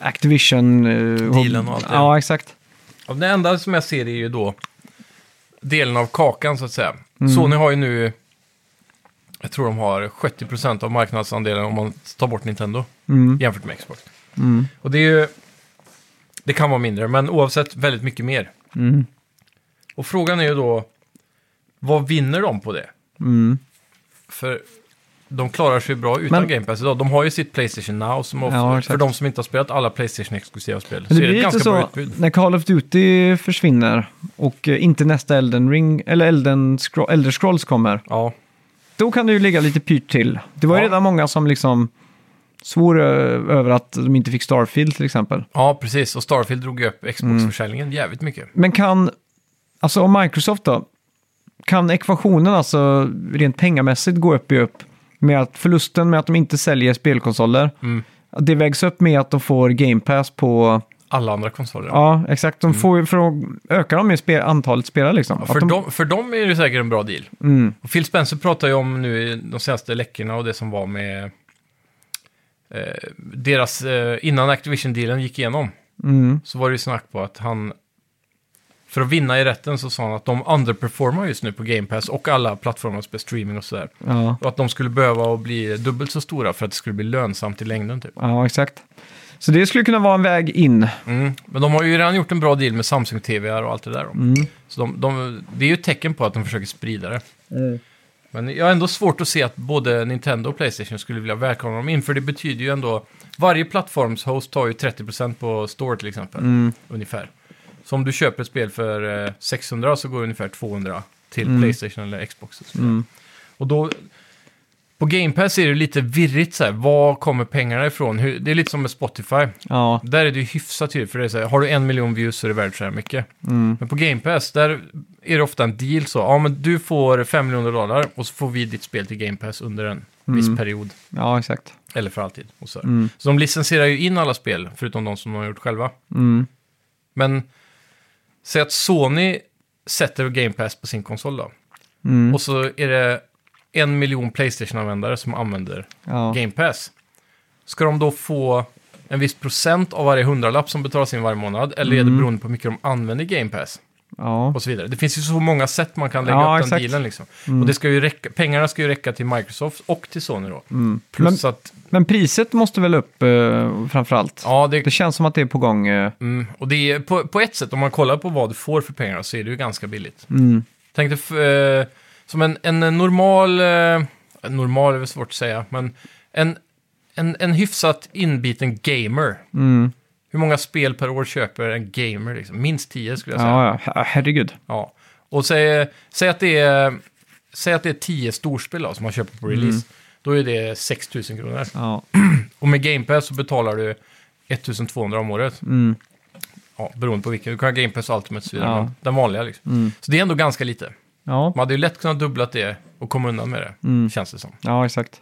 Activision... eh, Dealen och allt det. Ja, exakt. Ja, Det enda som jag ser är ju då delen av kakan så att säga. Sony har ju nu, jag tror de har 70% av marknadsandelen om man tar bort Nintendo Mm, jämfört med Xbox. Och det är ju, det kan vara mindre, men oavsett väldigt mycket mer. Och frågan är ju då, vad vinner de på det? mm. För de klarar sig bra utan Men- Game Pass idag. De har ju sitt Playstation Now, som ofta, Ja, för exakt. de som inte har spelat alla Playstation-exklusiva spel. Men Så det blir är det ett lite ganska bra så utbud. när Call of Duty försvinner och eh, inte nästa Elden Ring eller Elden Scro- Elder Scrolls kommer. Ja. Då kan det ju ligga lite pyrt till. Det var ju Ja. redan många som liksom svor eh, över att de inte fick Starfield till exempel. Ja, precis. Och Starfield drog ju upp Xbox-försäljningen jävligt mycket. Men kan, alltså om Microsoft då, kan ekvationen alltså rent pengamässigt gå upp i upp med att förlusten med att de inte säljer spelkonsoler, Mm. att det vägs upp med att de får Game Pass på alla andra konsoler. Ja, exakt. De får, ju- för att öka dem i spe, antalet spelare liksom. Mm. För, Att de, dem, för dem är det säkert en bra deal. Mm. Och Phil Spencer pratar ju om nu i de senaste läckorna och det som var med eh, deras, eh, innan Activision-dealen gick igenom, Mm. så var det ju snack på att han, för att vinna i rätten så sa han att de underperformar just nu på Game Pass och alla plattformar som spelar streaming och sådär. Ja. Och att de skulle behöva att bli dubbelt så stora för att det skulle bli lönsamt i längden typ. ja, exakt. Så det skulle kunna vara en väg in. Mm. Men de har ju redan gjort en bra deal med Samsung TV och allt det där. då. Mm. Så de, de, det är ju ett tecken på att de försöker sprida det. Men jag har ändå svårt att se att både Nintendo och Playstation skulle vilja välkomna dem in, för det betyder ju ändå... Varje plattformshost tar ju 30% på store till exempel, ungefär. Så om du köper ett spel för eh, 600 så går ungefär 200 till Playstation eller Xbox. Och, så vidare. och då... På Game Pass är det lite virrigt så här, var kommer pengarna ifrån? Hur, det är lite som med Spotify. Ja, Där är det ju hyfsat tydligt, för det är så här, har du en miljon views så är det värt så här mycket. Men på Game Pass, där är det ofta en deal så, ja men du får 5 miljoner dollar och så får vi ditt spel till Game Pass under en viss period, ja exakt. eller för alltid. Och så, här. så de licensierar ju in alla spel, förutom de som de har gjort själva. Mm. Men säg att Sony sätter Game Pass på sin konsol då, Mm. och så är det en miljon Playstation-användare som använder Ja. Game Pass. Ska de då få en viss procent av varje hundralapp som betalas in varje månad? Eller Mm. är det beroende på hur mycket de använder Game Pass? Ja. Och så vidare. Det finns ju så många sätt man kan lägga Ja, upp exakt. Mm. den dealen. Liksom. Och det ska ju räcka, pengarna ska ju räcka till Microsoft och till Sony då. Plus att, Mm. Men priset måste väl upp eh, framför allt? ja, det, Det känns som att det är på gång. Eh, mm, och det är på, på ett sätt, om man kollar på vad du får för pengarna så är det ju ganska billigt. mm. Tänk dig, f- eh, som en, en normal, eh, normal är väl svårt att säga, men en, en, en hyfsat inbiten gamer. Mm. Hur många spel per år köper en gamer? Liksom? Minst 10 skulle jag säga. Ja. Ja, ja. Her- herregud. Och säg, säg, att det är, säg att det är 10 storspel då, som man köper på Mm. release. Då är det 6 000 kronor. Ja. Och med Game Pass så betalar du 1200 om året. Mm. Ja, beroende på vilken. Du kan ha Game Pass Ultimate och så vidare. Ja. Mm. men Den vanliga liksom. Så det är ändå ganska lite. Ja. Man hade ju lätt kunnat dubblat det och komma undan med det, Mm. känns det som. ja, exakt.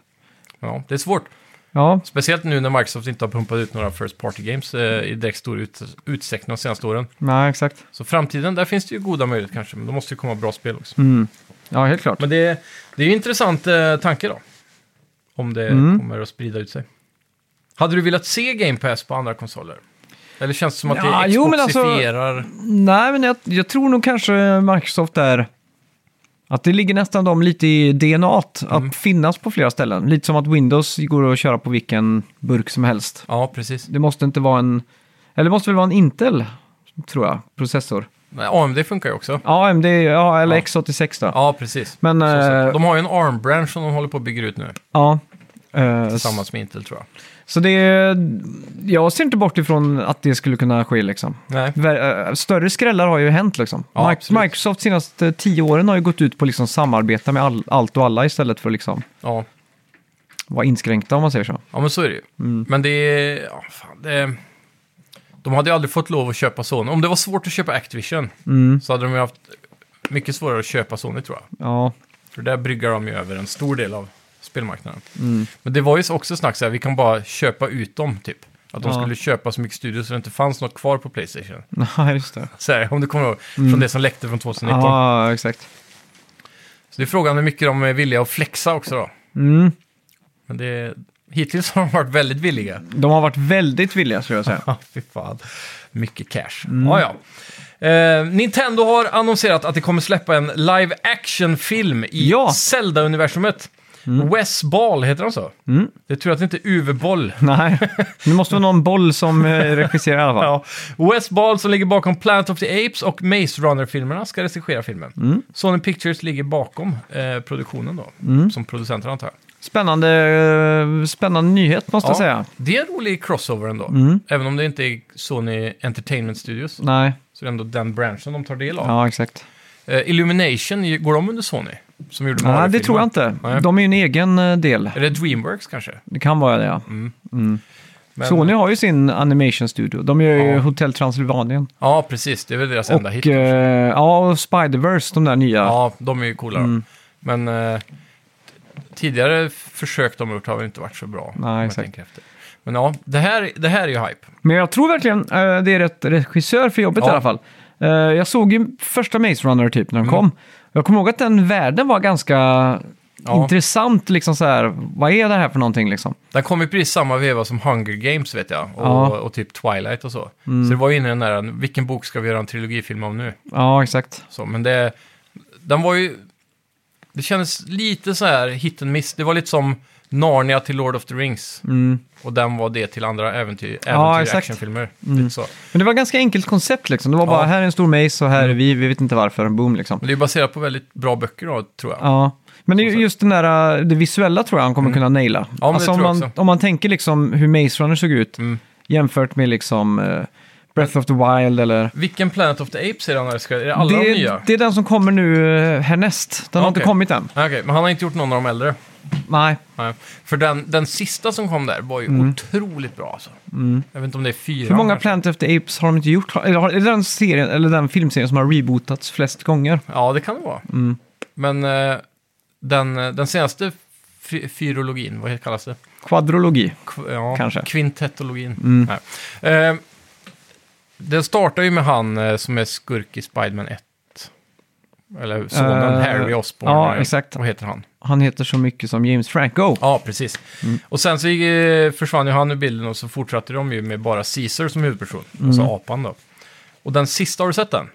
Ja, det är svårt. Ja, Speciellt nu när Microsoft inte har pumpat ut några First Party Games eh, i direkt stor ut, utsträckning de senaste åren. nej, exakt. Så framtiden, där finns det ju goda möjligheter kanske, men då måste det komma bra spel också. Mm. Ja, helt klart. Men det, det är ju en intressant eh, tanke då. Om det Mm. kommer att sprida ut sig. Hade du velat se Game Pass på andra konsoler? Eller känns det som att Ja, det jo, men alltså- Xboxifierar? Nej, men jag, jag tror nog kanske Microsoft är... Att det ligger nästan dem lite i DNA att Mm. finnas på flera ställen. Lite som att Windows går att köra på vilken burk som helst. Ja, precis. Det måste inte vara en... Eller det måste väl vara en Intel, tror jag, processor. Men AMD funkar ju också. Ja, AMD, ja, eller Ja. X86 då. Ja, precis. Men, Så eh, sett. de har ju en ARM-branch som de håller på att bygga ut nu. Ja. Eh, Tillsammans med Intel tror jag. så det... Jag ser inte bort ifrån att det skulle kunna ske liksom. Nej. Ver- eh, Större skrällar har ju hänt liksom. Ja, Mi- absolut. Microsoft senaste tio åren har ju gått ut på liksom samarbeta med all, allt och alla istället för att liksom Ja. vara inskränkta om man säger så. ja, men så är det ju. Mm. Men det är... Ja, fan, det, de hade ju aldrig fått lov att köpa Sony. Om det var svårt att köpa Activision Mm. så hade de ju haft mycket svårare att köpa Sony tror jag. Ja, För där bryggar de ju över en stor del av spelmarknaden. Mm. Men det var ju också snack så här, vi kan bara köpa ut dem typ. Att de Ja. skulle köpa så mycket studios så det inte fanns något kvar på Playstation. nej just det. Så här, om du kommer ihåg, från det som läckte från 2019. Mm. Ja, exakt. Så det är frågan hur mycket de är villiga att flexa också då. Mm. Men det, hittills har de varit väldigt villiga. De har varit väldigt villiga skulle jag säga. Ja, fy fan. Mycket cash. Mm. Ja, ja. Eh, Nintendo har annonserat att det kommer släppa en live action-film i Ja. Mm. Zelda-universumet. Wes Ball, heter han så? Det är tur att det inte är Uwe Boll. nej, det måste vara någon boll som eh, regisserar i alla fall. Ja. Wes Ball som ligger bakom Planet of the Apes och Maze Runner-filmerna ska regissera filmen. Mm. Sony Pictures ligger bakom eh, produktionen då, Mm. som producenter antar jag. Spännande, eh, spännande nyhet måste jag säga. Mm. Det är en rolig crossover ändå. Även om det inte är Sony Entertainment Studios Nej, så är det ändå den branschen de tar del av. ja exakt. Eh, Illumination, går de under Sony? Som gjorde Nej, det Mario-filmen? tror jag inte. Nej. De är ju en egen eh, del. Är det Dreamworks kanske? Det kan vara det ja. Men- Sony har ju sin animation studio. De gör ju Ja. Hotel Transylvanien. Ja, precis. Det är väl deras enda hit. Och, eh, ja, och Spider-Verse, de där nya. Ja, de är ju coola. mm. Men eh, tidigare försök de har gjort har väl inte varit så bra. om jag exakt. tänker efter. Men ja, det här, det här är ju hype. Men jag tror verkligen eh, det är rätt regissör för jobbet Ja. i alla fall. Eh, jag såg ju första Maze Runner typ när den Mm. kom. Jag kommer ihåg att den världen var ganska Ja. intressant. Liksom så här, vad är det här för någonting liksom? Den kom ju precis samma veva som Hunger Games vet jag. Och, Ja. Mm. och typ Twilight och så. Så det var ju inne i den där, vilken bok ska vi göra en trilogifilm om nu? Ja, exakt. Så, men det, den var ju... Det kändes lite så här hit and miss. Det var lite som Narnia till Lord of the Rings. Och den var det till andra äventyr, äventyr Mm. exakt. Mm. actionfilmer. Lite så. Men det var ganska enkelt koncept liksom. Det var bara Ja. Mm. här är en stor maze och här är vi, vi vet inte varför, boom liksom. Men det är ju baserat på väldigt bra böcker då, tror jag. Ja. Men det är ju just den där, eh, det visuella tror jag han kommer kunna naila. Mm. Alltså, det tror om, jag man, också. om man tänker liksom hur Maze Runner såg ut Mm. jämfört med liksom eh, Breath of the Wild eller... Vilken Planet of the Apes är den här? Ska- Är det alla de det, nya? är, det är den som kommer nu eh, härnäst. Den har inte Okej. kommit än. Nej, Okej, men han har inte gjort någon av de äldre. Nej. Nej. För den, den sista som kom där var ju otroligt bra alltså. Jag vet inte om det är fyra. Mm. Hur många kanske. Planet of the Apes har de inte gjort? Eller har, är det den, serien, eller den filmserien som har rebootats flest gånger? Ja, det kan det vara. Mm. Men eh, den, eh, den senaste fy- fyrologin, vad kallas det? Quadrologi. Kv- ja, Kanske. Mm. Kvintettologin. Nej. Eh, den startar ju med han eh, som är skurk i Spiderman 1. Eller sonen Eh, Harry Osborn. ja, eller exakt. Vad heter han? Han heter så mycket som James Franco. Ja, precis. Mm. Och sen så eh, försvann ju han ur bilden och så fortsatte de ju med bara Caesar som huvudperson. Mm. Alltså apan då. Och den sista, har du sett den?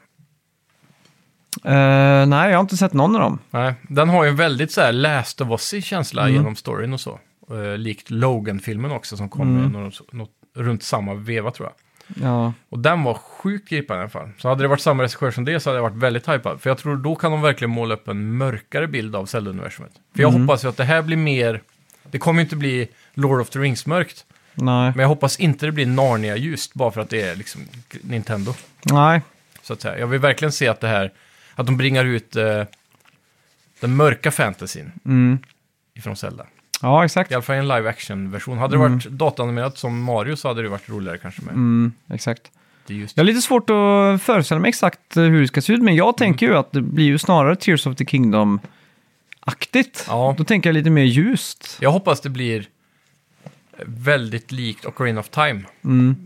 Eh, nej, jag har inte sett någon av dem. Nej, den har ju en väldigt så här last of us känsla Mm. genom storyn och så. Eh, likt Logan-filmen också som kom mm. något, något, runt samma veva tror jag. Ja. Och den var sjukt gripande i alla fall. Så hade det varit samma regissör som det så hade jag varit väldigt hypad. För jag tror då kan de verkligen måla upp en mörkare bild av Zelda-universumet. För jag hoppas ju att det här blir mer... Det kommer ju inte bli Lord of the Rings-mörkt. Nej. Men jag hoppas inte det blir Narnia-ljust bara för att det är liksom Nintendo. nej. Så att säga. Jag vill verkligen se att det här... Att de bringar ut eh, den mörka fantasin Mm. ifrån Zelda. Ja, exakt. I alla fall i en live action-version. Hade det varit dataanimerat som Mario så hade det varit roligare kanske med Mm, exakt. det just. Jag har lite svårt att föreställa mig exakt eh, hur det ska se ut, men jag tänker ju att det blir ju snarare Tears of the Kingdom-aktigt. Ja. Då tänker jag lite mer ljust. Jag hoppas det blir väldigt likt Ocarina of Time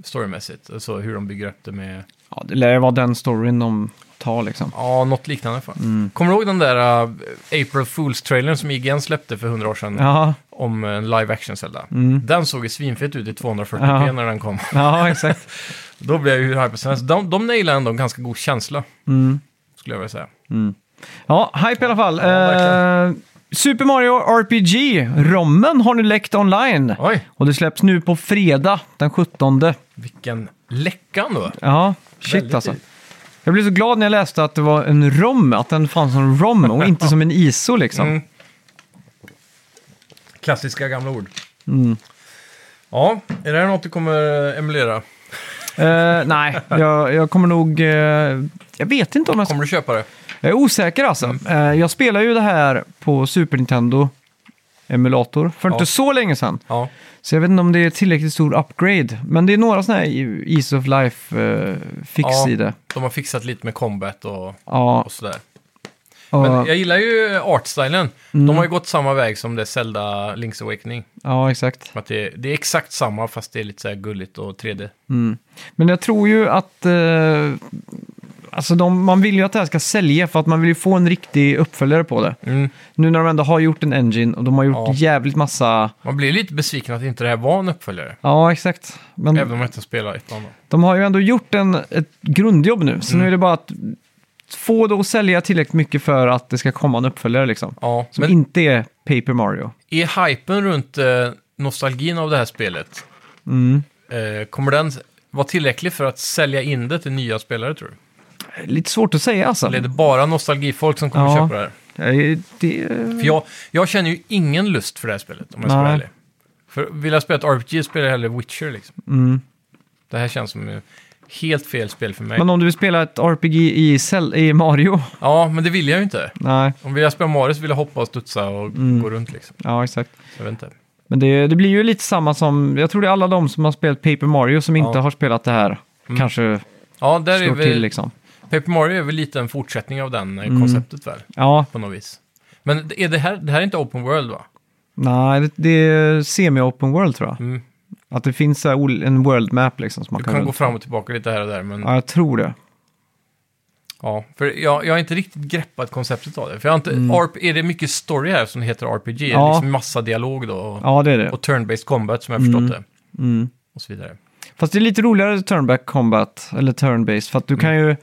storymässigt. Alltså hur de bygger upp det med, Mm. Ja, det lär ju vara den storyn de tar liksom. ja, något liknande i alla fall. Mm. Kommer du ihåg den där uh, April Fools-trailern som IGN släppte för hundra år sedan? Ja, Mm. Om en live action Zelda. Den såg ju svinfett ut i 240p Ja. när den kom. ja exakt. Då blev jag ju hype som helst. De, de nailade ändå en ganska god känsla. Mm. Skulle jag vilja säga. Ja, hype i alla fall. eh, verkligen. Super Mario RPG, rommen har nu läckt online. Oj, Och det släpps nu på fredag den 17. vilken läcka då. Ja, shit Väldigt alltså. tidigt. Jag blev så glad när jag läste att det var en rom, att den fanns som rom och inte som en ISO liksom. Mm. Klassiska gamla ord. Mm. Ja, är det här något du kommer emulera? Eh, nej, jag, jag kommer nog... eh, jag vet inte om jag... Kommer du köpa det? Jag är osäker alltså. Mm. Eh, jag spelar ju det här på Super Nintendo emulator för Ja. inte så länge sedan. Ja. Så jag vet inte om det är tillräckligt stor upgrade. Men det är några sådana här Ease of Life-fix Ja. i det. De har fixat lite med combat och, Ja, och sådär. och, Men jag gillar ju artstylen. Mm. De har ju gått samma väg som det Zelda Link's Awakening. ja, exakt. Att det, det är exakt samma fast det är lite så här gulligt och 3D. Mm. Men jag tror ju att... Eh, alltså de, man vill ju att det här ska sälja för att man vill ju få en riktig uppföljare på det. Mm. Nu när de ändå har gjort en engine och de har gjort Ja. jävligt massa... Man blir lite besviken att inte det här var en uppföljare. Ja, exakt. Men Även om jag inte spelar ettan då. de har ju ändå gjort en, ett grundjobb nu. Mm. Så nu är det bara att få det att sälja tillräckligt mycket för att det ska komma en uppföljare liksom. Ja, Som men inte är Paper Mario. är hypen runt eh, nostalgin av det här spelet, Mm. eh, kommer den vara tillräcklig för att sälja in det till nya spelare tror du? Lite svårt att säga alltså. Eller är det bara nostalgifolk som kommer Ja. köpa det här? Eh, det... För jag, jag känner ju ingen lust för det här spelet, om jag ska Nej. vara ärlig. För vill jag spela ett RPG spelar jag hellre Witcher liksom. Mm. Det här känns som eh, helt fel spel för mig. Men om du vill spela ett RPG i, cell, i Mario? Ja, men det vill jag ju inte. Nej, Om jag spelar Mario så vill jag hoppa och studsa och Mm. gå runt liksom. ja exakt. Jag vet inte. Men det, det blir ju lite samma som, jag tror det är alla de som har spelat Paper Mario som inte Ja. har spelat det här. Kanske Ja, där är slår till väl, liksom. Mm. Paper Mario är väl lite en fortsättning av den eh, konceptet väl, Ja, på något vis. Men är det, här, det här är inte open world va? nej, det, det är semi-open world tror jag. Mm. Att det finns så här ol- en world map liksom som man Du kan, kan gå runt. fram och tillbaka lite här och där, men... Ja, jag tror det. Ja, för jag, jag har inte riktigt greppat konceptet av det. För jag har inte, ARP, är det mycket story här som heter RPG? Mm. Ja. Liksom massa dialog då? Och, Ja, det är det. och turn-based combat som jag har förstått det. Mm. Och så vidare. Fast det är lite roligare turnback combat, eller turn-based, för att du Mm. kan ju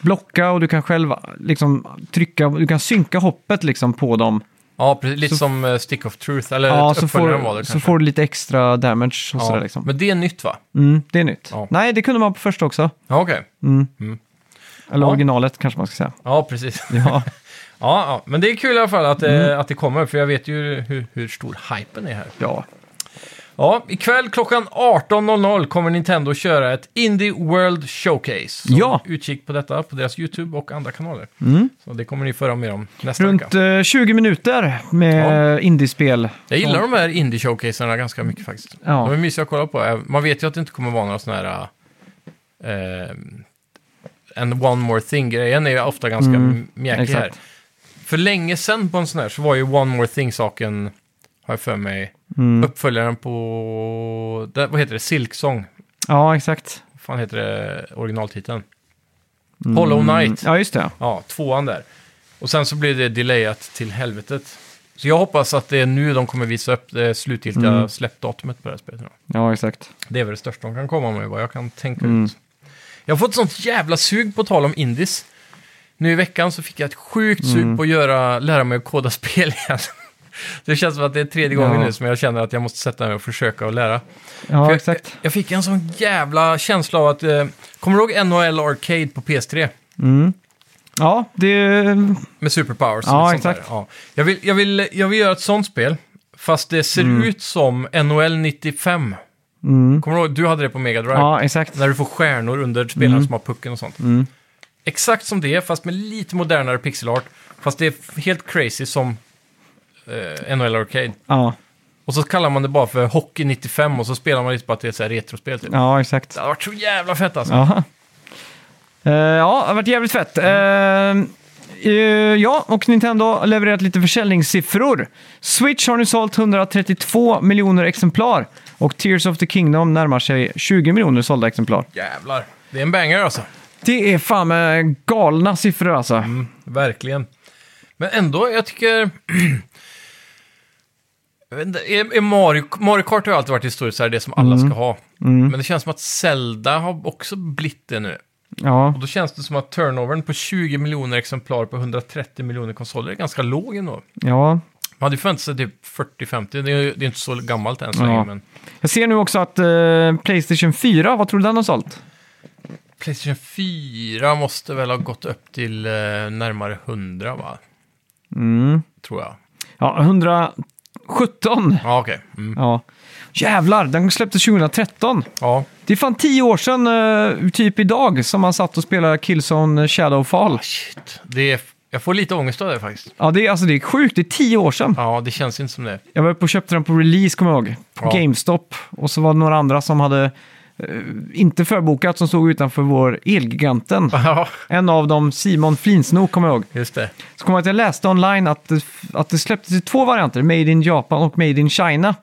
blocka och du kan själv liksom trycka, du kan synka hoppet liksom på dem. Ja, precis, lite Så- som eh, Stick of Truth, eller Ja, så uppföljaren var får, det så kanske. får du lite extra damage och ja. sådär liksom. Men det är nytt va? Mm, det är nytt. Ja. Nej, det kunde man på första också. Ja, okej. Mm. Mm. Eller Ja. originalet kanske man ska säga. Ja, precis. Ja, Mm. Ja, ja, men det är kul i alla fall att, det- att det kommer, för jag vet ju hur, hur stor hypen är här. ja. Ja, ikväll klockan 18.00 kommer Nintendo köra ett Indie World Showcase. Så Ja. utkik på detta på deras YouTube och andra kanaler. Mm. Så det kommer ni få höra mer om nästa Runt vecka. eh, 20 minuter med indiespel. Jag gillar Ja. de här Indie-showcaserna ganska mycket faktiskt. Ja. De är mysiga att kolla på. Man vet ju att det inte kommer vara några sådana här... Eh, en one more thing-grejen är ju ofta ganska Mm, mjäkig exakt. här. För länge sedan på en sån här så var ju one more thing-saken, har jag för mig, Mm. uppföljaren på... där- Vad heter det? Silksong. Ja, exakt. Vad fan heter det originaltiteln? Hollow Knight. Mm. Ja, just det. Ja, tvåan där. Och sen så blev det delayat till helvetet. Så jag hoppas att det är nu de kommer visa upp det slutgiltiga Mm. släppdatumet på det här spelet. nu. Ja, exakt. Det är väl det största de kan komma med, vad jag kan tänka Mm. ut. Jag har fått sånt jävla sug på tal om indies. Nu i veckan så fick jag ett sjukt sug Mm. på att göra, lära mig att koda spel igen. Det känns som att det är tredje gången Ja. nu som jag känner att jag måste sätta mig och försöka och lära. För Ja, jag, exakt. Jag fick en sån jävla känsla av att... Eh, kommer du ihåg NHL Arcade på PS3? Mm. Ja, det... Med superpowers. Ja, och sånt exakt. Där. Ja. Jag, vill, jag, vill, jag vill göra ett sånt spel, fast det ser ut som NHL 95. Mm. Kommer du ihåg? Du hade det på Mega Drive. Ja, Mm. exakt. När du får stjärnor under spelaren som har pucken och sånt. Exakt som det, fast med lite modernare pixelart. Fast det är helt crazy som eh, NHL Arcade. Ja, Och så kallar man det bara för Hockey 95 och så spelar man lite på att det är så här retrospel. Typ. ja exakt. Det hade varit så jävla fett alltså. Ja. Eh, ja, det har varit jävligt fett. Eh, eh, ja, och Nintendo har levererat lite försäljningssiffror. Switch har nu sålt 132 miljoner exemplar och Tears of the Kingdom närmar sig 20 miljoner sålda exemplar. Jävlar. Det är en banger alltså. Det är fan med galna siffror alltså. Verkligen. Men ändå, jag tycker... Jag vet inte, är, är Mario, Mario Kart har ju alltid varit historiskt så här, det som alla Mm. ska ha. Men det känns som att Zelda har också blivit det nu. Ja, Och då känns det som att turnovern på 20 miljoner exemplar på 130 miljoner konsoler är ganska låg ändå. Man ja. hade ju förväntat sig typ 40-50, det, är ju- det är inte så gammalt än så Ja. länge. Men Jag ser nu också att eh, Playstation 4, vad tror du den har sålt? Playstation 4 måste väl ha gått upp till eh, närmare 100 va? Mm. Tror jag. Ja, 117. Ja, okej. Mm. Ja. Jävlar, den släpptes 2013. Ja. Det är fan tio år sedan, eh, typ idag, som man satt och spelade Killzone eh, Shadowfall. Shit. Det är, jag får lite ångest av det faktiskt. Ja, det är, alltså, det är sjukt. Det är tio år sedan. Ja, det känns inte som det. Jag var uppe och köpte den på release, kommer jag ihåg. Ja. GameStop. Och så var det några andra som hade eh, inte förbokat, som stod utanför vår Elgiganten. Ja, En av dem, Simon Flinsno, kommer jag ihåg. just det. Så kommer jag ihåg att jag läste online att det, att det släpptes i två varianter, Made in Japan och Made in China.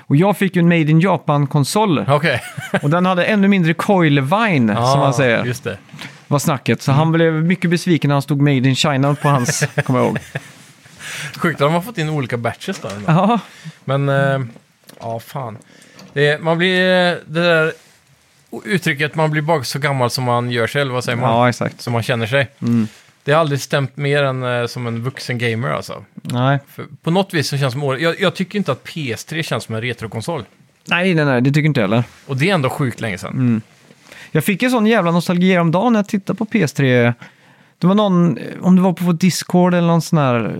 Och jag fick ju en Made in Japan-konsol. Okej. Och den hade ännu mindre coil-vine, Ja, som man säger. Ah, Just det. var snacket. Så han blev mycket besviken när han stod Made in China på hans, kommer jag ihåg. Sjukt att de har fått in olika batches där. ändå. Ja, Men, eh, ja fan. Det, man blir, eh, det där uttrycket man blir bara så gammal som man gör sig, eller vad säger man? ja exakt. Som man känner sig. Det har aldrig stämt mer än eh, som en vuxen gamer alltså. Nej. För på något vis så känns det som året. Jag, jag tycker inte att PS3 känns som en retrokonsol. nej, nej, nej, det tycker inte jag heller. Och det är ändå sjukt länge sedan. Jag fick en sån jävla nostalgi om dagen när jag tittade på PS3. Det var någon, eh, om det var på vår Discord eller någon sån här eh,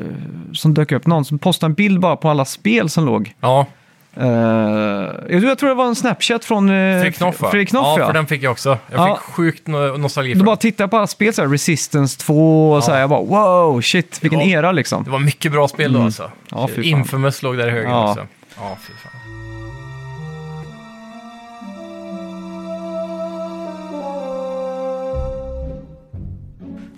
som dök upp, någon som postade en bild bara på alla spel som låg. Ja, Eh, jag tror- jag tror det var en Snapchat från eh, Fredrik Knoff va? Fredrik Knoff, ja. ja. för den fick jag också. Jag Ja. fick sjukt no- nostalgi för Då den. bara tittade jag på alla spel, så här, Resistance 2 och så här, jag bara wow, shit, vilken Ja. era liksom. Det var mycket bra spel då alltså. Ja, fy fan. Infamous låg där i höger Ja. också. Ja, fy fan.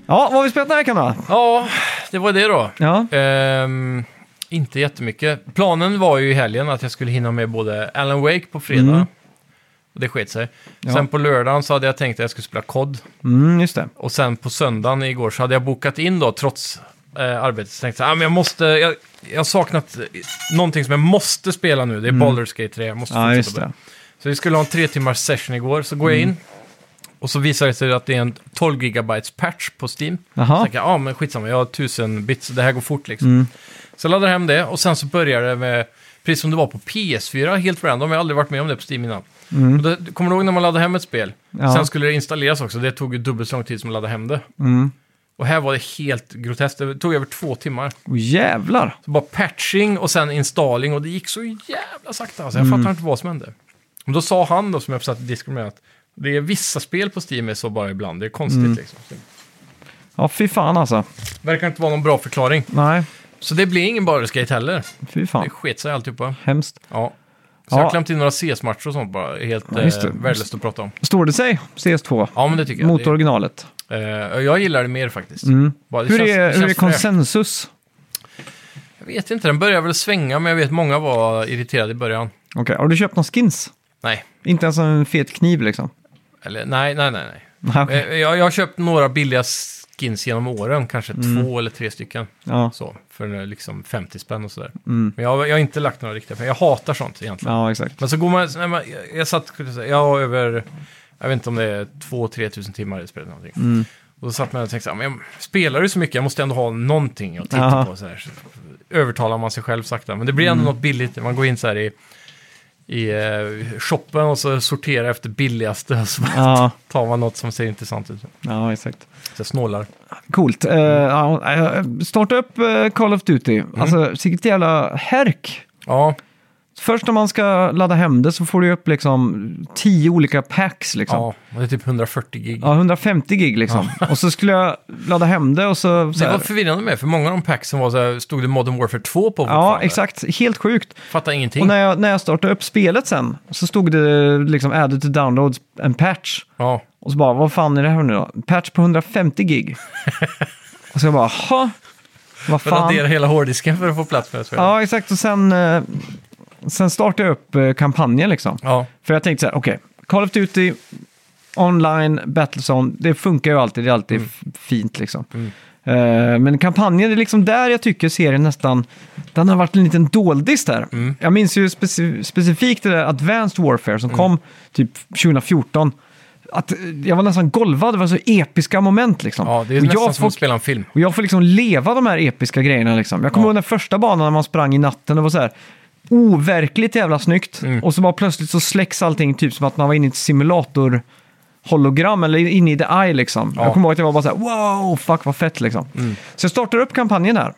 Ja, vad har vi spelat den här veckan då? Ja, det var det då. Ja. Ehm, Inte jättemycket. Planen var ju i helgen att jag skulle hinna med både Alan Wake på fredag. Mm. Och det sket sig. Ja. Sen på lördagen så hade jag tänkt att jag skulle spela COD. Mm, just det. Och sen på söndagen igår så hade jag bokat in då, trots eh, arbetet. Så tänkte jag, ah, men jag måste... Jag, jag har saknat eh, någonting som jag måste spela nu. Det är Baldur's Gate 3. Jag måste Mm. Ja, fortsätta just på det. Så vi skulle ha en tre timmars session igår, så Mm. går jag in. Och så visar det sig att det är en 12 gigabytes patch på Steam. Jaha. Mm. Så tänker jag, ja ah, men skitsamma, jag har 1000 bits, så det här går fort liksom. Så jag laddar hem det och sen så börjar det med, precis som det var på PS4, helt random, jag har aldrig varit med om det på Steam innan. Och då, kommer du ihåg när man laddade hem ett spel? Mm. Ja. Sen skulle det installeras också, det tog ju dubbelt så lång tid som att ladda hem det. Mm. Och här var det helt groteskt, det tog över två timmar. Åh, jävlar! Så bara patching och sen installing och det gick så jävla sakta. Alltså, jag Mm. fattar inte vad som hände. Men då sa han då, som jag satt i disken med, att det är vissa spel på Steam är så bara ibland. Det är konstigt Mm. liksom. Så det Ja, fy fan alltså. verkar inte vara någon bra förklaring. Nej, Så det blir ingen Baldur's Gate heller. fy Det fan. sket sig alltihopa. Hemskt. Ja. Så jag Ja. har klämt in några CS-matcher och sånt bara. Helt Ja, just det. eh, värdelöst att prata om. Står det sig, CS2? Ja, men det tycker jag. Mot Det, originalet. eh, jag gillar det mer faktiskt. Bara, Mm. det Hur känns- är, det hur är känns fräscht. konsensus? Jag vet inte, den börjar väl svänga, men jag vet många var irriterade i början. Okej, har du köpt någon skins? Nej, Inte ens en fet kniv liksom? eller nej, nej, nej. nej. Nej, okej. Eh, Jag, jag har köpt några billiga skins genom åren, kanske Mm. två eller tre stycken. Ja. Så, för eh, liksom 50 spänn och sådär. Men jag, har- jag har inte lagt några riktiga pengar. Jag hatar sånt egentligen. Mm. ja, exakt. Men så går man, nej, men jag, jag satt, skulle jag säga, jag har över, jag vet inte om det är 2-3 tusen timmar i spelet eller någonting. Mm. Och då satt man och tänkte så här, men jag spelar ju så mycket, jag måste ändå ha någonting att titta Jaha. på. Så här. Så övertalar man sig själv sakta. Men det blir Mm. ändå något billigt, man går in så här i, i eh, shoppen och så sorterar efter billigaste. Och så bara Ja, tar man något som ser intressant ut. ja, exakt. Så jag snålar. Coolt. Eh, ja, eh, starta upp eh, Call of Duty. Mm. Alltså, vilket jävla härk. Ja, Först när man ska ladda hem det så får du upp liksom tio olika packs liksom. ja och det är typ 140 gig. Ja, 150 gig liksom. Och så skulle jag ladda hem det och så... så Det här, var förvirrande med, för många av de packsen var så här, stod det Modern Warfare 2 på ja, exakt. Helt sjukt. Fattar ingenting. Och när jag, när jag startade upp spelet sen så stod det liksom added to download en patch. Ja. Och så bara, vad fan är det här nu då? Patch på 150 gig. och så jag bara, ha? Vad För att fan? radera hela hårddisken för att få plats med det. Ja. Ja, exakt. Och sen, eh, sen startade jag upp eh, kampanjen liksom. ja. För jag tänkte så här, okej, Call of Duty, online, Battlezone, det funkar ju alltid, det är alltid Mm. f- fint liksom. Eh, men kampanjen, det är liksom där jag tycker serien nästan, den har varit en liten doldis där. Mm. Jag minns ju speci- specifikt det där Advanced Warfare som kom typ 2014. Att eh, jag var nästan golvad, det var så episka moment liksom. ja, det är Och nästan jag som får att spela en film. och jag får liksom leva de här episka grejerna liksom. Jag kommer Ja. ihåg den första banan när man sprang i natten, det var så här overkligt jävla snyggt. Mm. Och så bara plötsligt så släcks allting, typ som att man var inne i ett simulator hologram eller inne i the eye liksom. Ja. Mm. Jag kommer ihåg att jag var bara så här, wow, fuck vad fett liksom. Så jag startar upp kampanjen här.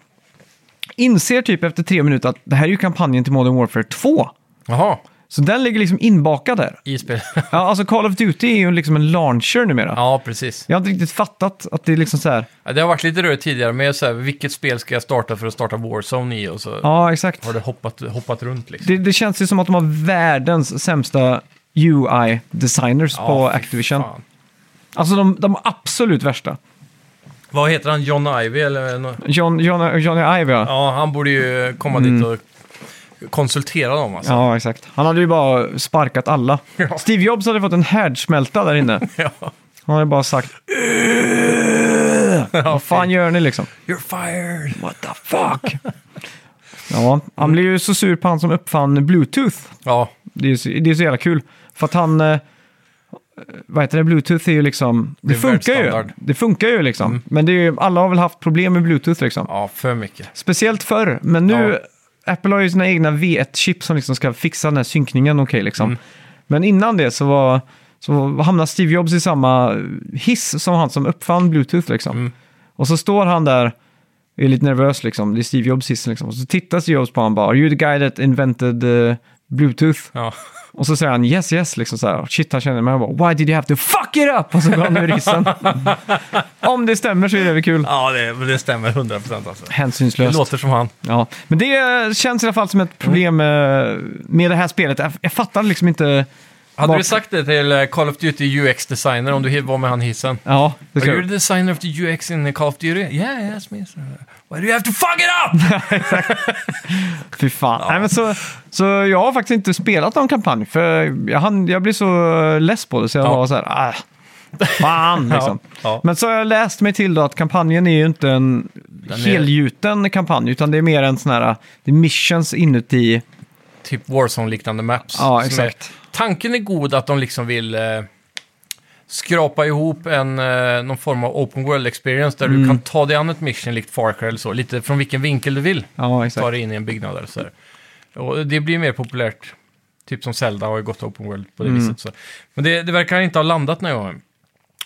Inser typ efter tre minuter att det här är ju kampanjen till Modern Warfare 2. Jaha, Så den ligger liksom inbakad där. i spelet. Ja, alltså Call of Duty är ju liksom en launcher numera. ja, precis. Jag har inte riktigt fattat att det är liksom så här, Ja, Det har varit lite rörigt tidigare med så här, vilket spel ska jag starta för att starta Warzone i och så ja exakt. har det hoppat, hoppat runt liksom. Det, det känns ju som att de har världens sämsta UI-designers Ja, på fy Activision. fan. Alltså de, de absolut värsta. Vad heter han? John Ivy eller? nå- John, John, Johnny Ive, ja. Ja, han borde ju komma Mm. dit och konsultera dem alltså. Ja, exakt. Han hade ju bara sparkat alla. Ja. Steve Jobs hade fått en härdsmälta där inne. Ja. Han hade bara sagt Ja, Vad fan gör ni liksom? You're fired! What the fuck? ja, han blev ju så sur på han som uppfann Bluetooth. Ja, Det är, ju så- det är så jävla kul. För att han... Eh, vad heter det? Bluetooth är ju liksom... Det, är funkar ju. världsstandard. Det funkar ju liksom. Men det är ju, alla har väl haft problem med Bluetooth liksom. ja för mycket. Speciellt förr. Men nu... Apple har ju sina egna V1-chip som liksom ska fixa den här synkningen okej liksom. Mm. Men innan det så var... Så hamnade Steve Jobs i samma eh, hiss som han som uppfann Bluetooth liksom. Mm. Och så står han där är lite nervös liksom. Det är Steve Jobs hiss liksom. Och så tittar Steve Jobs på honom bara. Are you the guy that invented eh, Bluetooth? Ja. Och så säger han yes, yes, liksom så här. Shit, han känner mig. Jag bara, why did you have to fuck it up? Och så går han ur isen. Om det stämmer så är det väl kul. Ja, det, det stämmer 100% alltså. Det Hänsynslöst. låter som han. Ja. Men Mm. det känns i alla fall som ett problem eh, med det här spelet. Jag- Jag fattar liksom inte Hade Bak- du sagt det till eh, Call of Duty UX-designer om du var med han hissen? Ja, det Are ska you du. the designer of the UX in Call of Duty? Yeah, yes, me. sir. Why do you have to fuck it up? Fy fan. Nej, men så, så jag har faktiskt inte spelat någon kampanj, för jag, hann, jag blev så eh, less på det så jag Ja. var så här, ah, fan liksom. ja. Men så har jag läst mig till då att kampanjen är ju inte en är- helgjuten kampanj, utan det är mer en sån här, det är missions inuti, typ Warzone-liknande maps. Ja, Som exakt. Är, tanken är god att de liksom vill eh, skrapa ihop en, eh, någon form av open world experience där Mm. du kan ta dig an ett mission likt Far Cry eller så. Lite från vilken vinkel du vill. ja exakt. Ta dig in i en byggnad eller så här. Och det blir mer populärt. Typ som Zelda har ju gått open world Mm. på det viset. Så. Men det, det verkar inte ha landat någon gång.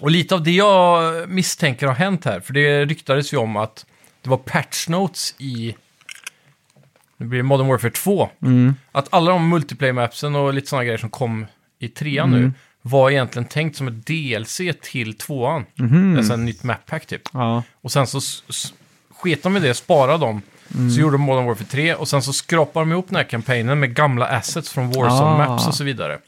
Och lite av det jag misstänker har hänt här, för det ryktades ju om att det var patch notes i nu blir det Modern Warfare 2. Mm. Att alla de multiplayer mapsen och lite sådana grejer som kom i trean Mm. nu var egentligen tänkt som ett DLC till tvåan. Mhm. Mm. Alltså en nytt map pack typ. Ja. Och sen så s- s- sket de i det, sparade dem. Mm. Så gjorde de Modern Warfare 3 och sen så skrapade de ihop den här kampanjen med gamla assets från Warzone Ah. Mm. Maps och så vidare.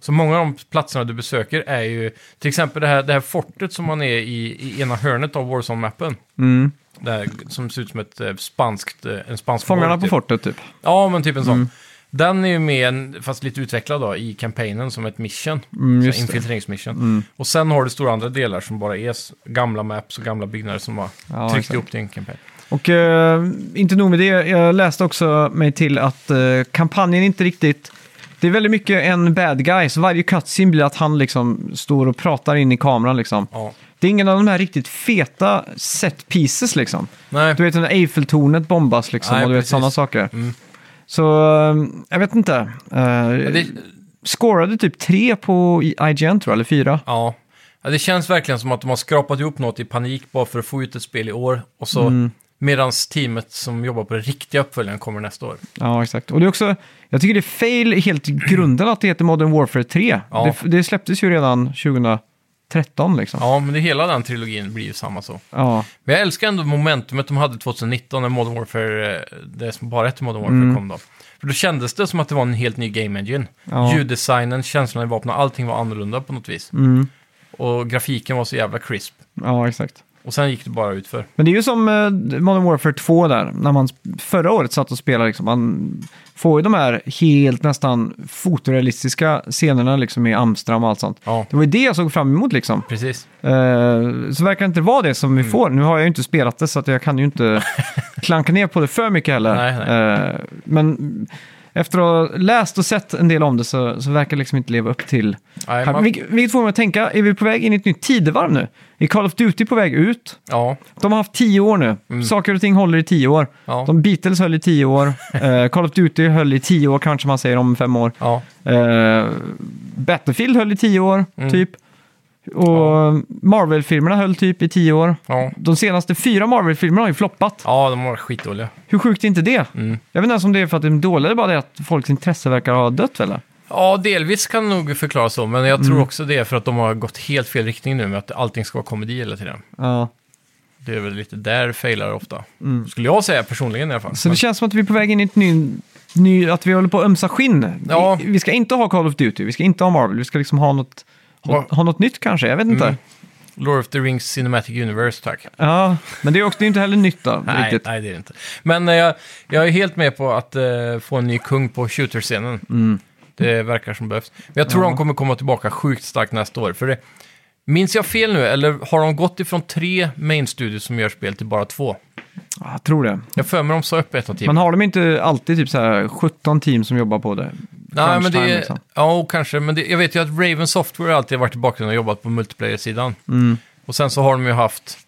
Så många av de platserna du besöker är ju, till exempel det här, det här fortet som man är i, i ena hörnet av Warzone-mappen. Mm. Det här, som ser ut som ett eh, spanskt, eh, en spansk Fångarna borg, på typ. fortet typ. Ja, men typ en sån. Mm. Den är ju med, en- fast lite utvecklad då, i kampanjen som ett mission. Mm, så just det. Mm. här infiltreringsmission. Och sen har du stora andra delar som bara är s- gamla maps och gamla byggnader som har Ja, tryckt exakt. ihop till en kampanj. Och eh, inte nog med det, jag läste också mig till att eh, kampanjen inte riktigt... Det är väldigt mycket en bad guy, så varje cutscene blir att han liksom står och pratar in i kameran liksom. Ja. Det är ingen av de här riktigt feta set pieces liksom. Nej, Du vet när Eiffeltornet bombas liksom Nej, och du vet precis. sådana saker. Mm. Så eh, jag vet inte. Eh, men det, Scorade typ tre på i- IGN tror jag, eller fyra. ja. ja, det känns verkligen som att de har skrapat ihop något i panik bara för att få ut ett spel i år. Och så Mm. medans teamet som jobbar på den riktiga uppföljaren kommer nästa år. Ja, exakt. Och det är också, jag tycker det är fail helt i grunden att det heter Modern Warfare 3. Ja. Det, det släpptes ju redan 2013 liksom. Ja. Ja, men det, hela den trilogin blir ju samma så. Men jag älskar ändå momentumet de hade 2019 när Modern Warfare, eh, det som bara hette Modern Warfare Mm. kom då. För då kändes det som att det var en helt ny game engine. Ja. Ljuddesignen, känslan i vapnen, allting var annorlunda på något vis. Mm. Och grafiken var så jävla crisp. ja, exakt. Och sen gick det bara ut för. Men det är ju som eh, Modern Warfare 2 där, när man sp- förra året satt och spelade. Liksom, man får ju de här helt nästan fotorealistiska scenerna liksom, i Amsterdam och allt sånt. Ja, Det var ju det jag såg fram emot liksom. precis. Eh, så verkar det inte vara det som Mm. vi får. Nu har jag ju inte spelat det så att jag kan ju inte klanka ner på det för mycket heller. Nej, Eh, men efter att ha läst och sett en del om det så, så verkar det liksom inte leva upp till... Nej, man, Vilket, vilket får mig att tänka, är vi på väg in i ett nytt tidevarv nu? Är Call of Duty på väg ut? ja, De har haft tio år nu. Saker och ting håller i tio år. Mm. Ja. De Beatles höll i tio år. Eh, Call of Duty höll i tio år, kanske man säger om fem år. ja. Eh, Battlefield höll i tio år, Mm. typ. Och Marvel-filmerna höll typ i tio år. Ja. De senaste fyra Marvel-filmerna har ju floppat. ja, Mm. de var skitdåliga. Hur sjukt är inte det? Jag vet inte ens om det är för att de är dåliga, det är bara det att folks intresse verkar ha dött, eller? Ja, delvis kan det nog förklaras så, men jag Mm. tror också det är för att de har gått helt fel riktning nu med att allting ska vara komedi hela tiden. Ja. Det är väl lite där det failar ofta. Skulle jag säga personligen i alla fall. Mm. Så Men- det känns som att vi är på väg in i ett ny, ny att vi håller på att ömsa skinn. Ja. Vi, vi ska inte ha Call of Duty, vi ska inte ha Marvel, vi ska liksom ha något, ha, Vad- ha något nytt kanske, jag vet inte. Mm. Lord of the Rings Cinematic Universe, tack. Ja, men det är, också, det är inte heller nytt då, Nej, riktigt. nej, det är det inte. Men eh, jag, jag är helt med på att eh, få en ny kung på shooterscenen. Det verkar som behövs. Men jag tror de kommer komma tillbaka sjukt starkt nästa år. För det, minns jag fel nu, eller har de gått ifrån tre main studios som gör spel till bara två? Ja, Jag tror det. Jag för mig de sa upp ett av teamen. Men har de inte alltid typ så här 17 team som jobbar på det? Nej, men Crunch det, time, liksom. Ja, och kanske. Men det, jag vet ju att Raven Software alltid har varit i bakgrunden och jobbat på multiplayer-sidan. Och sen så har de ju haft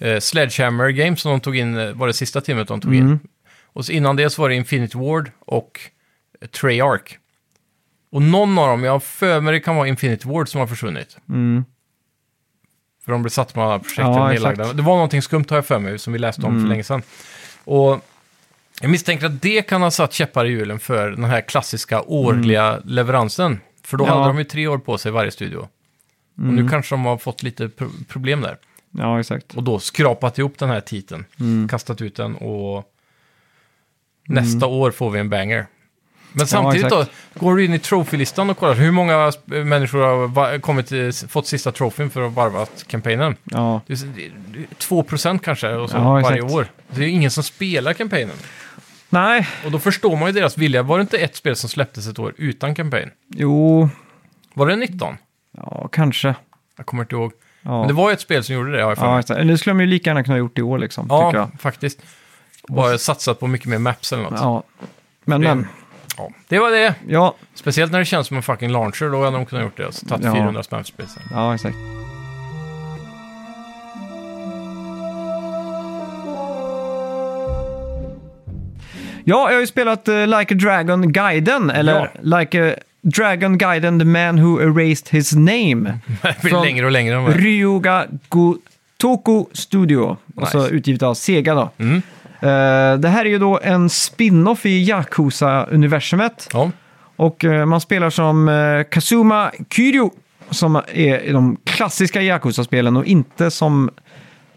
eh, Sledgehammer Games som de tog in, eh, var det sista teamet de tog in. Och så innan det så var det Infinite Ward och eh, Treyarch. Och någon av dem, jag har för mig det kan vara Infinite Ward som har försvunnit. Mm. För de blev satt med alla projekten Ja, exakt. Mm. nedlagda. Det var någonting skumt har jag för mig, som vi läste om för länge sedan. Och jag misstänker att det kan ha satt käppar i hjulen för den här klassiska årliga leveransen. För då Mm. Ja. Mm. hade de ju tre år på sig varje studio. Och nu kanske de har fått lite pro problem där. Ja, exakt. Och då skrapat ihop den här Mm. titeln, kastat ut den och nästa år får vi en banger. Men samtidigt Mm. exakt. då, går du in i trophylistan och kollar hur många sp- människor har va- kommit till, fått sista trofin för att ha varvat kampanjen? Ja. Det är så- det är- det är 2% kanske och så Ja, varje exakt. år. Det är ju ingen som spelar kampanjen. Nej, Och då förstår man ju deras vilja. Var det inte ett spel som släpptes ett år utan kampanj? jo, Var det 19? ja kanske. Jag kommer inte ihåg. Ja. Men det var ju ett spel som gjorde det, har jag för Ja, mig. exakt. Nu skulle de ju lika gärna kunna ha gjort det i år liksom, tycker jag. Ja, faktiskt. Bara satsat på mycket mer maps eller något. Ja. Ja. Men, Det- men, Det var det. ja. Speciellt när det känns som en fucking launcher, då hade de kunnat gjort det. Alltså, tagit Ja. 400 spänn för spelet. Ja, exakt. Ja, jag har ju spelat eh, Like a Dragon Guiden, eller Like a Dragon Guiden, The Man Who Erased His Name. Det blir Från- längre och längre. De här. Ryuga Gotoku Studio, alltså Nice. Mm. utgivet av Sega då. Eh, det här är ju då en spin-off i Yakuza-universumet. Ja. Och eh, man spelar som eh, Kazuma Kiryu, som är i de klassiska Yakuza-spelen och inte som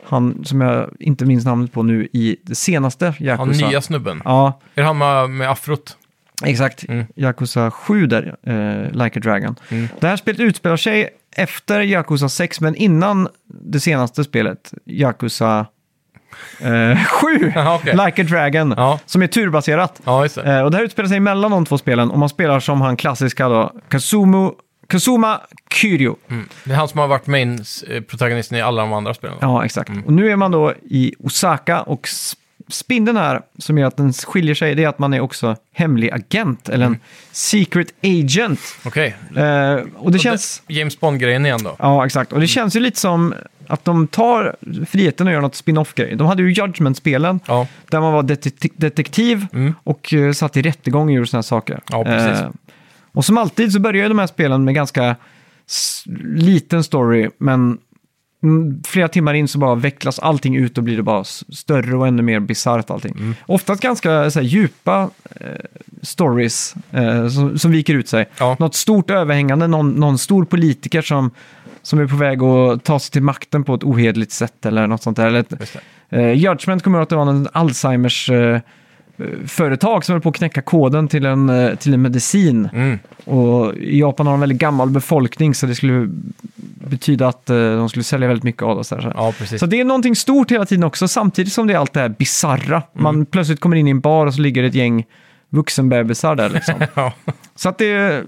han som jag inte minns namnet på nu i det senaste Yakuza. Han nya snubben. Ja, Är det han med, med afrot? exakt. Mm. Yakuza 7 där, eh, Like a Dragon. Mm. Det här spelet utspelar sig efter Yakuza 6, men innan det senaste spelet, Yakuza eh, 7, Jaha, okej. Like a Dragon, Ja. som är turbaserat. Ja, just det. Eh, och det här utspelar sig mellan de två spelen och man spelar som han klassiska då, Kazumu, Kazuma Kiryu. Mm. Det är han som har varit main eh, protagonisten i alla de andra spelen. Ja, exakt. Mm. Och nu är man då i Osaka och s- spindeln här som gör att den skiljer sig, det är att man är också hemlig agent, eller en Mm. secret agent. Okej. Eh, och det känns... Och det- Mm. James Bond-grejen igen då. Ja, exakt. Och det känns ju lite som att de tar friheten och gör något spin-off-grej. De hade ju Judgment-spelen, Ja, Mm. där man var detek- detektiv och eh, satt i rättegång och gjorde sådana saker. Eh, Ja, precis. och som alltid så börjar ju de här spelen med ganska s- liten story, men mm, flera timmar in så bara vecklas allting ut och blir det bara s- större och ännu mer bisarrt allting. Mm. Oftast ganska så här, djupa eh, stories eh, som, som viker ut sig. Ja. Något stort överhängande, någon, någon stor politiker som, som är på väg att ta sig till makten på ett ohederligt sätt eller något sånt där. Eller ett, just det. Eh, Judgment kommer att det var en Alzheimers eh, eh, företag som höll på att knäcka koden till en, eh, till en medicin. Mm. Och Japan har en väldigt gammal befolkning så det skulle betyda att eh, de skulle sälja väldigt mycket av oss. Där, så här. Ja, precis. Så det är någonting stort hela tiden också, samtidigt som det är allt det här bizarra. Mm. Man plötsligt kommer in i en bar och så ligger det ett gäng vuxenbebisar där liksom. Ja. Så att det är...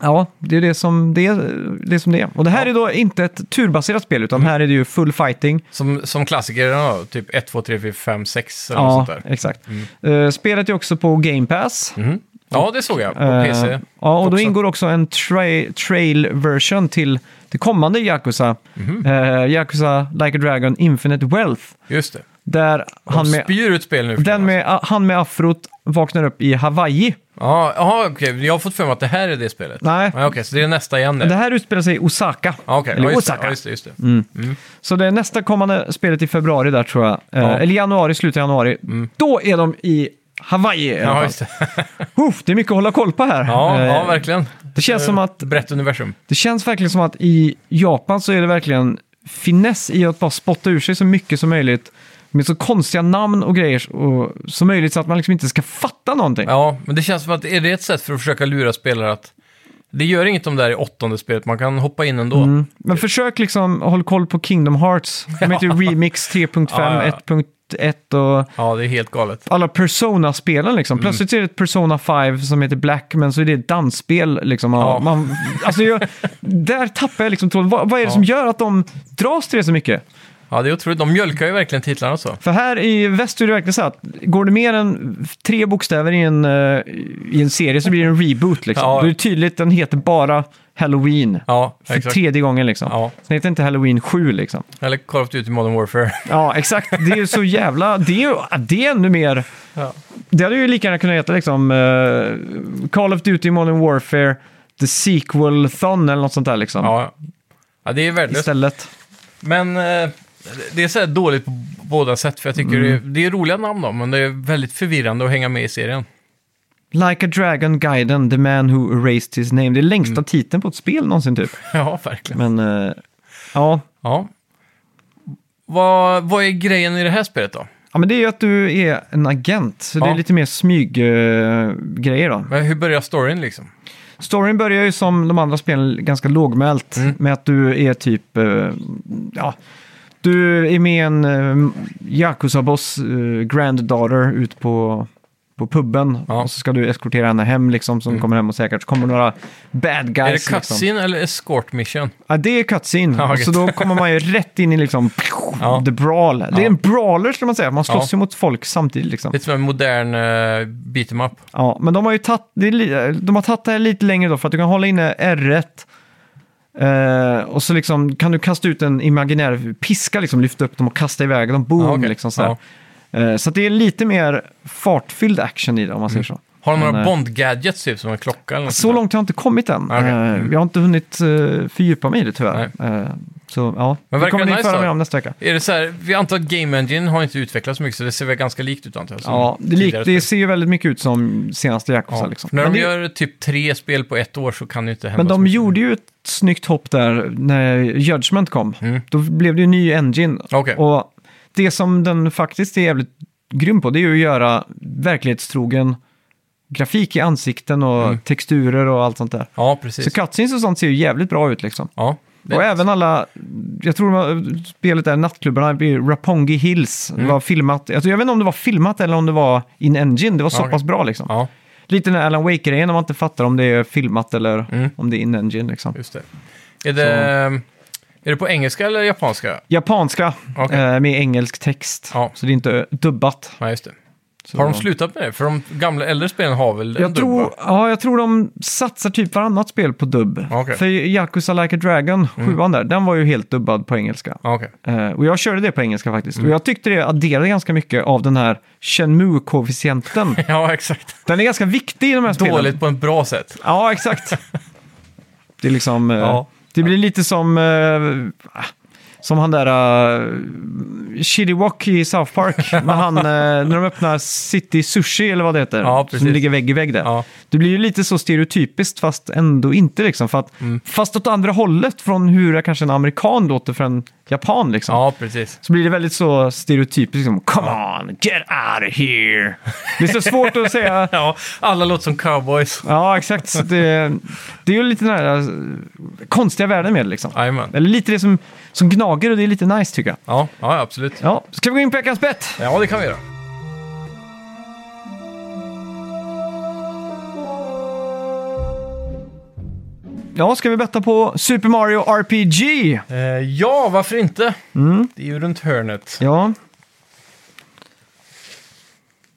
Ja, det är det som det är. Det är, som det är. Och det här är då inte ett turbaserat spel, utan Mm. här är det ju full fighting. Som, som klassiker, ja, typ 1, 2, 3, 4, 5, 6 eller Ja, något sånt där. exakt. Eh, spelet är också på Game Pass. Mm. Ja, det såg jag. På Eh, PC. ja, och då också. ingår också en tra- trail-version till det kommande Yakuza. Mhm. Eh, Yakuza Like a Dragon Infinite Wealth. Just det. Där han Han med, spyr alltså. ut spel nu. den för tiden, med, han med afrot vaknar upp i Hawaii. alltså. Ja, aha, okej. Jag har fått för mig att det här är det spelet. Nej. Ja, Okej, så det är nästa igen Det det. här Mm, utspelar sig i Osaka. Ja, Eh. Ah, okej. Eller Ja, just det. Osaka. Ja, just det, just det. Så det är nästa kommande spelet i februari där tror jag. Eh, Ja. Mm. Eller januari, slutet av januari. Då är de i Hawaii i alla Ja, fall. just det. Uff, det är mycket att hålla koll på här. Ja, Eh, ja, verkligen. Eh, det känns som att Brett universum. Det känns verkligen som att i Japan så är det verkligen finess i att bara spotta ur sig så mycket som möjligt med så konstiga namn och grejer och, som möjligt så att man liksom inte ska fatta någonting. Ja, men det känns som att är det ett sätt för att försöka lura spelare att det gör inget om det här i åttonde spelet, man kan hoppa in ändå. Mm. Men försök liksom håll koll på Kingdom Hearts. De heter ju Remix 3.5, Ja, ja, 1.1 och Ja, det är helt galet. alla Persona-spelen Mm. liksom. Plötsligt så är det ett Persona 5 som heter Black, men så är det ett dansspel liksom. Ja. Man, alltså jag, där tappar jag liksom tråden. Vad, vad är det som gör att de dras till det så mycket? Ja, det är otroligt. De mjölkar ju verkligen titlarna så. För här i väst är det verkligen så att går det mer än tre bokstäver i en, eh, i en serie så blir det en reboot. Liksom. Ja. Då är det tydligt att den heter bara Halloween. Ja, för exakt. tredje gången liksom. Ja. Den heter inte Halloween 7 liksom. Eller Call of Duty Modern Warfare. Ja, exakt. Det är ju så jävla... Det är, ju, det är ännu mer... Ja. Det hade ju lika gärna kunnat heta liksom eh, Call of Duty Modern Warfare The Sequel Thon eller något sånt där liksom. Ja, ja det är värdelöst. Istället. Men eh, det är så här dåligt på båda sätt, för jag Mm. tycker det, är, det är roliga namn då, men det är väldigt förvirrande att hänga med i serien. Like a Dragon Guiden, The Man Who Erased His Name. Det är längsta Mm. titeln på ett spel någonsin typ. Ja, verkligen. Men eh, ja, Ja. Vad, vad är grejen i det här spelet då? Ja, men det är ju att du är en agent, så det Ja. är lite mer smyggrejer då. Men hur börjar storyn liksom? Storyn börjar ju som de andra spelen ganska lågmält Mm. med att du är typ, eh, ja, du är med en uh, Yakuza-boss, uh, granddaughter, ut på, på puben. Ja. Mm. Och så ska du eskortera henne hem liksom, som kommer hem och säkert så kommer några bad guys. är det liksom. cutscene eller escort mission? Ja, det är cutscene. Ja, så gött. då kommer man ju rätt in i liksom, Ja. the brawl. Det är en brawler skulle man säga, man slåss ju mot folk samtidigt liksom. Lite som en modern uh, beat em up. Ja, men de har ju tagit det, är li- de har tagit det här lite längre då för att du kan hålla inne R1 eh, och så liksom kan du kasta ut en imaginär piska, liksom, lyfta upp dem och kasta iväg dem. Boom! Ja, okej. liksom, så, här. Eh, så att det är lite mer fartfylld action i det om man säger så. Har de Men, några eh, Bond-gadgets typ som en klocka eller något Så sånt där? långt har jag inte kommit än. Okej. Mm. Eh, jag har inte hunnit eh, fördjupa mig i det tyvärr. Eh, så ja, Men det verkar kommer ni nice föra då? mer om nästa vecka. Är det så här, vi antar att Game Engine har inte utvecklats så mycket så det ser väl ganska likt ut antar jag? som Ja, det, är likt- tidigare det spel. ser ju väldigt mycket ut som senaste Yakuza. Ja, Liksom. för När de Men det- gör typ tre spel på ett år så kan det ju inte hända Men så de mycket. gjorde ju ett snyggt hopp där när Judgment kom. Mm. Då blev det ju ny engine. Okej. Och det som den faktiskt är jävligt grym på, det är ju att göra verklighetstrogen grafik i ansikten och Mm. texturer och allt sånt där. Ja, precis. Så cutscenes och sånt ser ju jävligt bra ut liksom. ja, och är- även alla, jag tror de- spelet där, nattklubbarna, det är Rapongi Hills, Mm. det var filmat, alltså jag vet inte om det var filmat eller om det var in engine, det var så okej. pass bra liksom. Ja, Lite den här Alan Wake-grejen, när man inte fattar om det är filmat eller Mm. om det är in engine liksom. just det. Är det, är det på engelska eller japanska? Japanska Okej. eh, med engelsk text. Ja. Så det är inte eh, dubbat. Nej, just det. Så, Har de slutat med det? För de gamla äldre spelen har väl en Jag dubb, tror, va? ja, jag tror de satsar typ varannat spel på dubb. Okej. Mm. För Yakuza Like a Dragon, sjuan där, den var ju helt dubbad på engelska. Ja, okej. Eh, och jag körde det på engelska faktiskt. Mm. Och jag tyckte det adderade ganska mycket av den här Shenmue-koefficienten. Ja, exakt. den är ganska viktig i de här spelen. Dåligt på ett bra sätt. Ja, exakt. Det är liksom... eh, Ja. Det blir lite som... eh, som han där... Uh, Chilliwack i South Park. när, han, eh, när de öppnar City Sushi eller vad det heter. Ja, precis. som ligger vägg i vägg där. Ja. Det blir ju lite så stereotypiskt fast ändå inte liksom. För att, Mm. Fast åt andra hållet från hur kanske en amerikan låter för en japan liksom. Ja, precis. Så blir det väldigt så stereotypiskt. Liksom, Come on, get out of here. Det är så svårt att säga Ja, alla låter som cowboys. Ja, exakt. Så Det, det är ju lite den här eh, konstiga världen med det, liksom. Jajamän. Eller lite det som, som gnager och det är lite nice tycker jag. Ja, ja, absolut. Ja, ska vi gå in på veckans bett? Ja, det kan vi göra. Ja, ska vi betta på Super Mario RPG? Eh, ja, varför inte? Mm. Det är ju runt hörnet. Ja.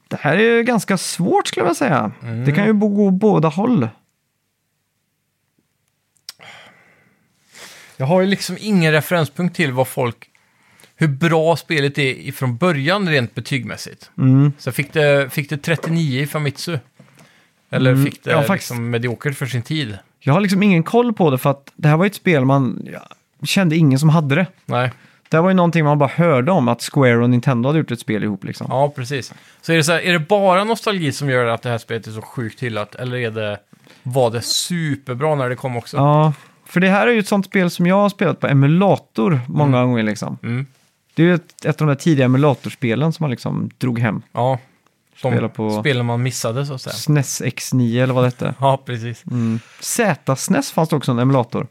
Det här är ju ganska svårt skulle jag vilja säga. Det kan ju bo- gå båda håll. Jag har ju liksom ingen referenspunkt till vad folk... Hur bra spelet är ifrån början rent betygmässigt. Mm. Så fick det, fick det 39 i Famitsu. Eller fick det Mm. ja, faktiskt. liksom mediokert för sin tid. Jag har liksom ingen koll på det för att det här var ju ett spel man jag kände ingen som hade det. Nej, Det här var ju någonting man bara hörde om att Square och Nintendo hade gjort ett spel ihop liksom. ja precis. Så är det, så här, är det bara nostalgi som gör att det här spelet är så sjukt hyllat? Eller är det, var det superbra när det kom också? Ja, för det här är ju ett sånt spel som jag har spelat på emulator många gånger liksom. Mm. Det är ju ett, ett av de där tidiga emulatorspelen som man liksom drog hem. E Ja. De Spela på- spelen man missade så att säga. SNES X9 eller vad det hette. Ja, precis. Z-SNES E fanns det också en emulator.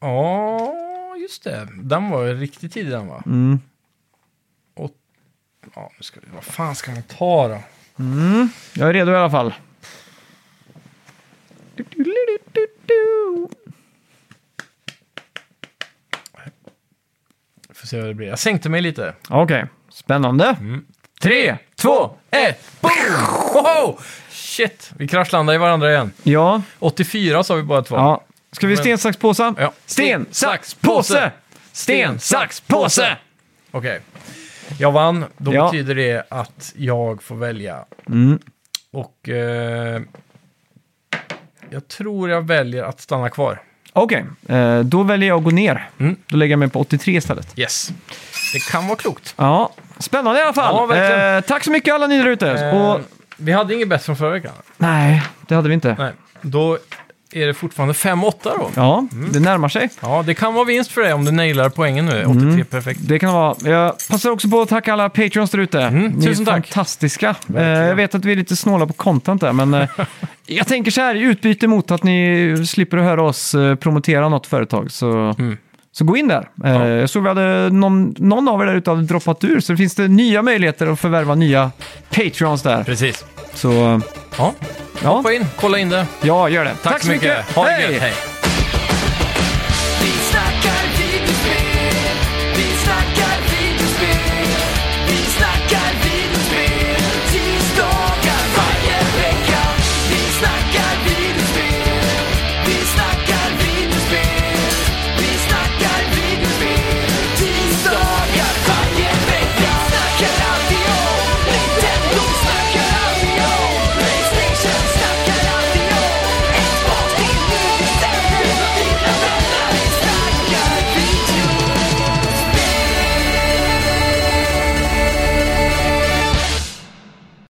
Ja, just det. Den var ju riktigt tidig den va? Mm. Och, ja, nu ska vi, vad fan ska man ta då? Jag är redo i alla fall. Får se vad det blir. Jag sänkte mig lite. Okej, spännande. Mm. Tre, två, ett, boom! Wow! Shit, vi kraschlandade i varandra igen. ja. 84 sa vi båda två. ja. Ska vi sten, sax, påse? Ja. Sten, sax, påse! Sten, sax, påse! Okej. Jag vann. Då Ja. betyder det att jag får välja. Mm. Och eh, jag tror jag väljer att stanna kvar. Okej, eh, då väljer jag att gå ner. Mm. Då lägger jag mig på 83 istället. Yes. Det kan vara klokt. Ja, spännande i alla Ja, fall. verkligen. eh, tack så mycket alla ni där ute. Eh, Och, vi hade inget bättre från förra veckan. nej, det hade vi inte. Nej. Då är det fortfarande 5-8 då? Ja, Mm. det närmar sig. Ja, det kan vara vinst för dig om du nailar poängen nu. Mm. 83 perfekt. Det kan det vara. Jag passar också på att tacka alla patreons där ute. Ni Mm, tusen är tack. fantastiska. Eh, jag vet att vi är lite snåla på content där, men eh, jag tänker så här i utbyte mot att ni slipper att höra oss eh, promotera något företag. Så, Mm. så gå in där. Eh, Jag såg vi hade någon, någon av er där ute hade droppat ur, så finns det nya möjligheter att förvärva nya patreons där. Precis. Så Ja, ja, hoppa in, kolla in det. Tack, ja gör det. Tack, så mycket. Ha det Hej! gött. Hej.